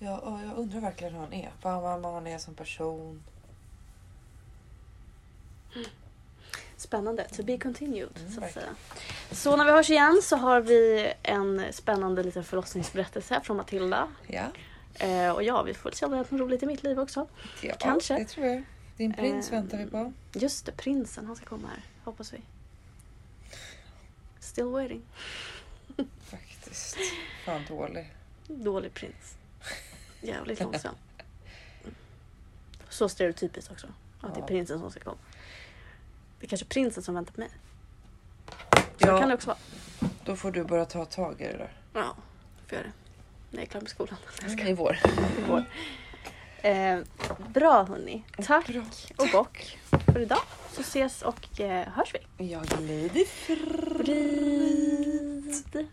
A: Ja, och jag undrar verkligen hur han är. Fan vad vad han är som person.
B: Spännande. To be continued,
A: Mm,
B: så att
A: verkligen.
B: säga. Så när vi hörs igen så har vi en spännande liten förlossningsberättelse från Matilda.
A: Ja,
B: Eh, och ja, vi får väl se om det har hänt något roligt i mitt liv också.
A: ja
B: Kanske.
A: det tror jag. Din prins
B: Ehm.
A: väntar vi på.
B: Just det, prinsen, han ska komma här. Hoppas vi. Still waiting.
A: Faktiskt. Fan dålig.
B: Dålig prins. Jävligt långsam. Så stereotypiskt också. Att det är
A: Ja.
B: prinsen som ska komma. Det är kanske prinsen som väntar på mig. Så
A: Ja,
B: kan det också vara.
A: Då får du börja ta tag i det där.
B: Ja, får göra det. När jag är klar med skolan. Jag ska
A: I vår.
B: igår. Eh, bra hörni. Tack
A: Bra.
B: och bock för idag. Så ses och eh, hörs vi.
A: Jag glider fri.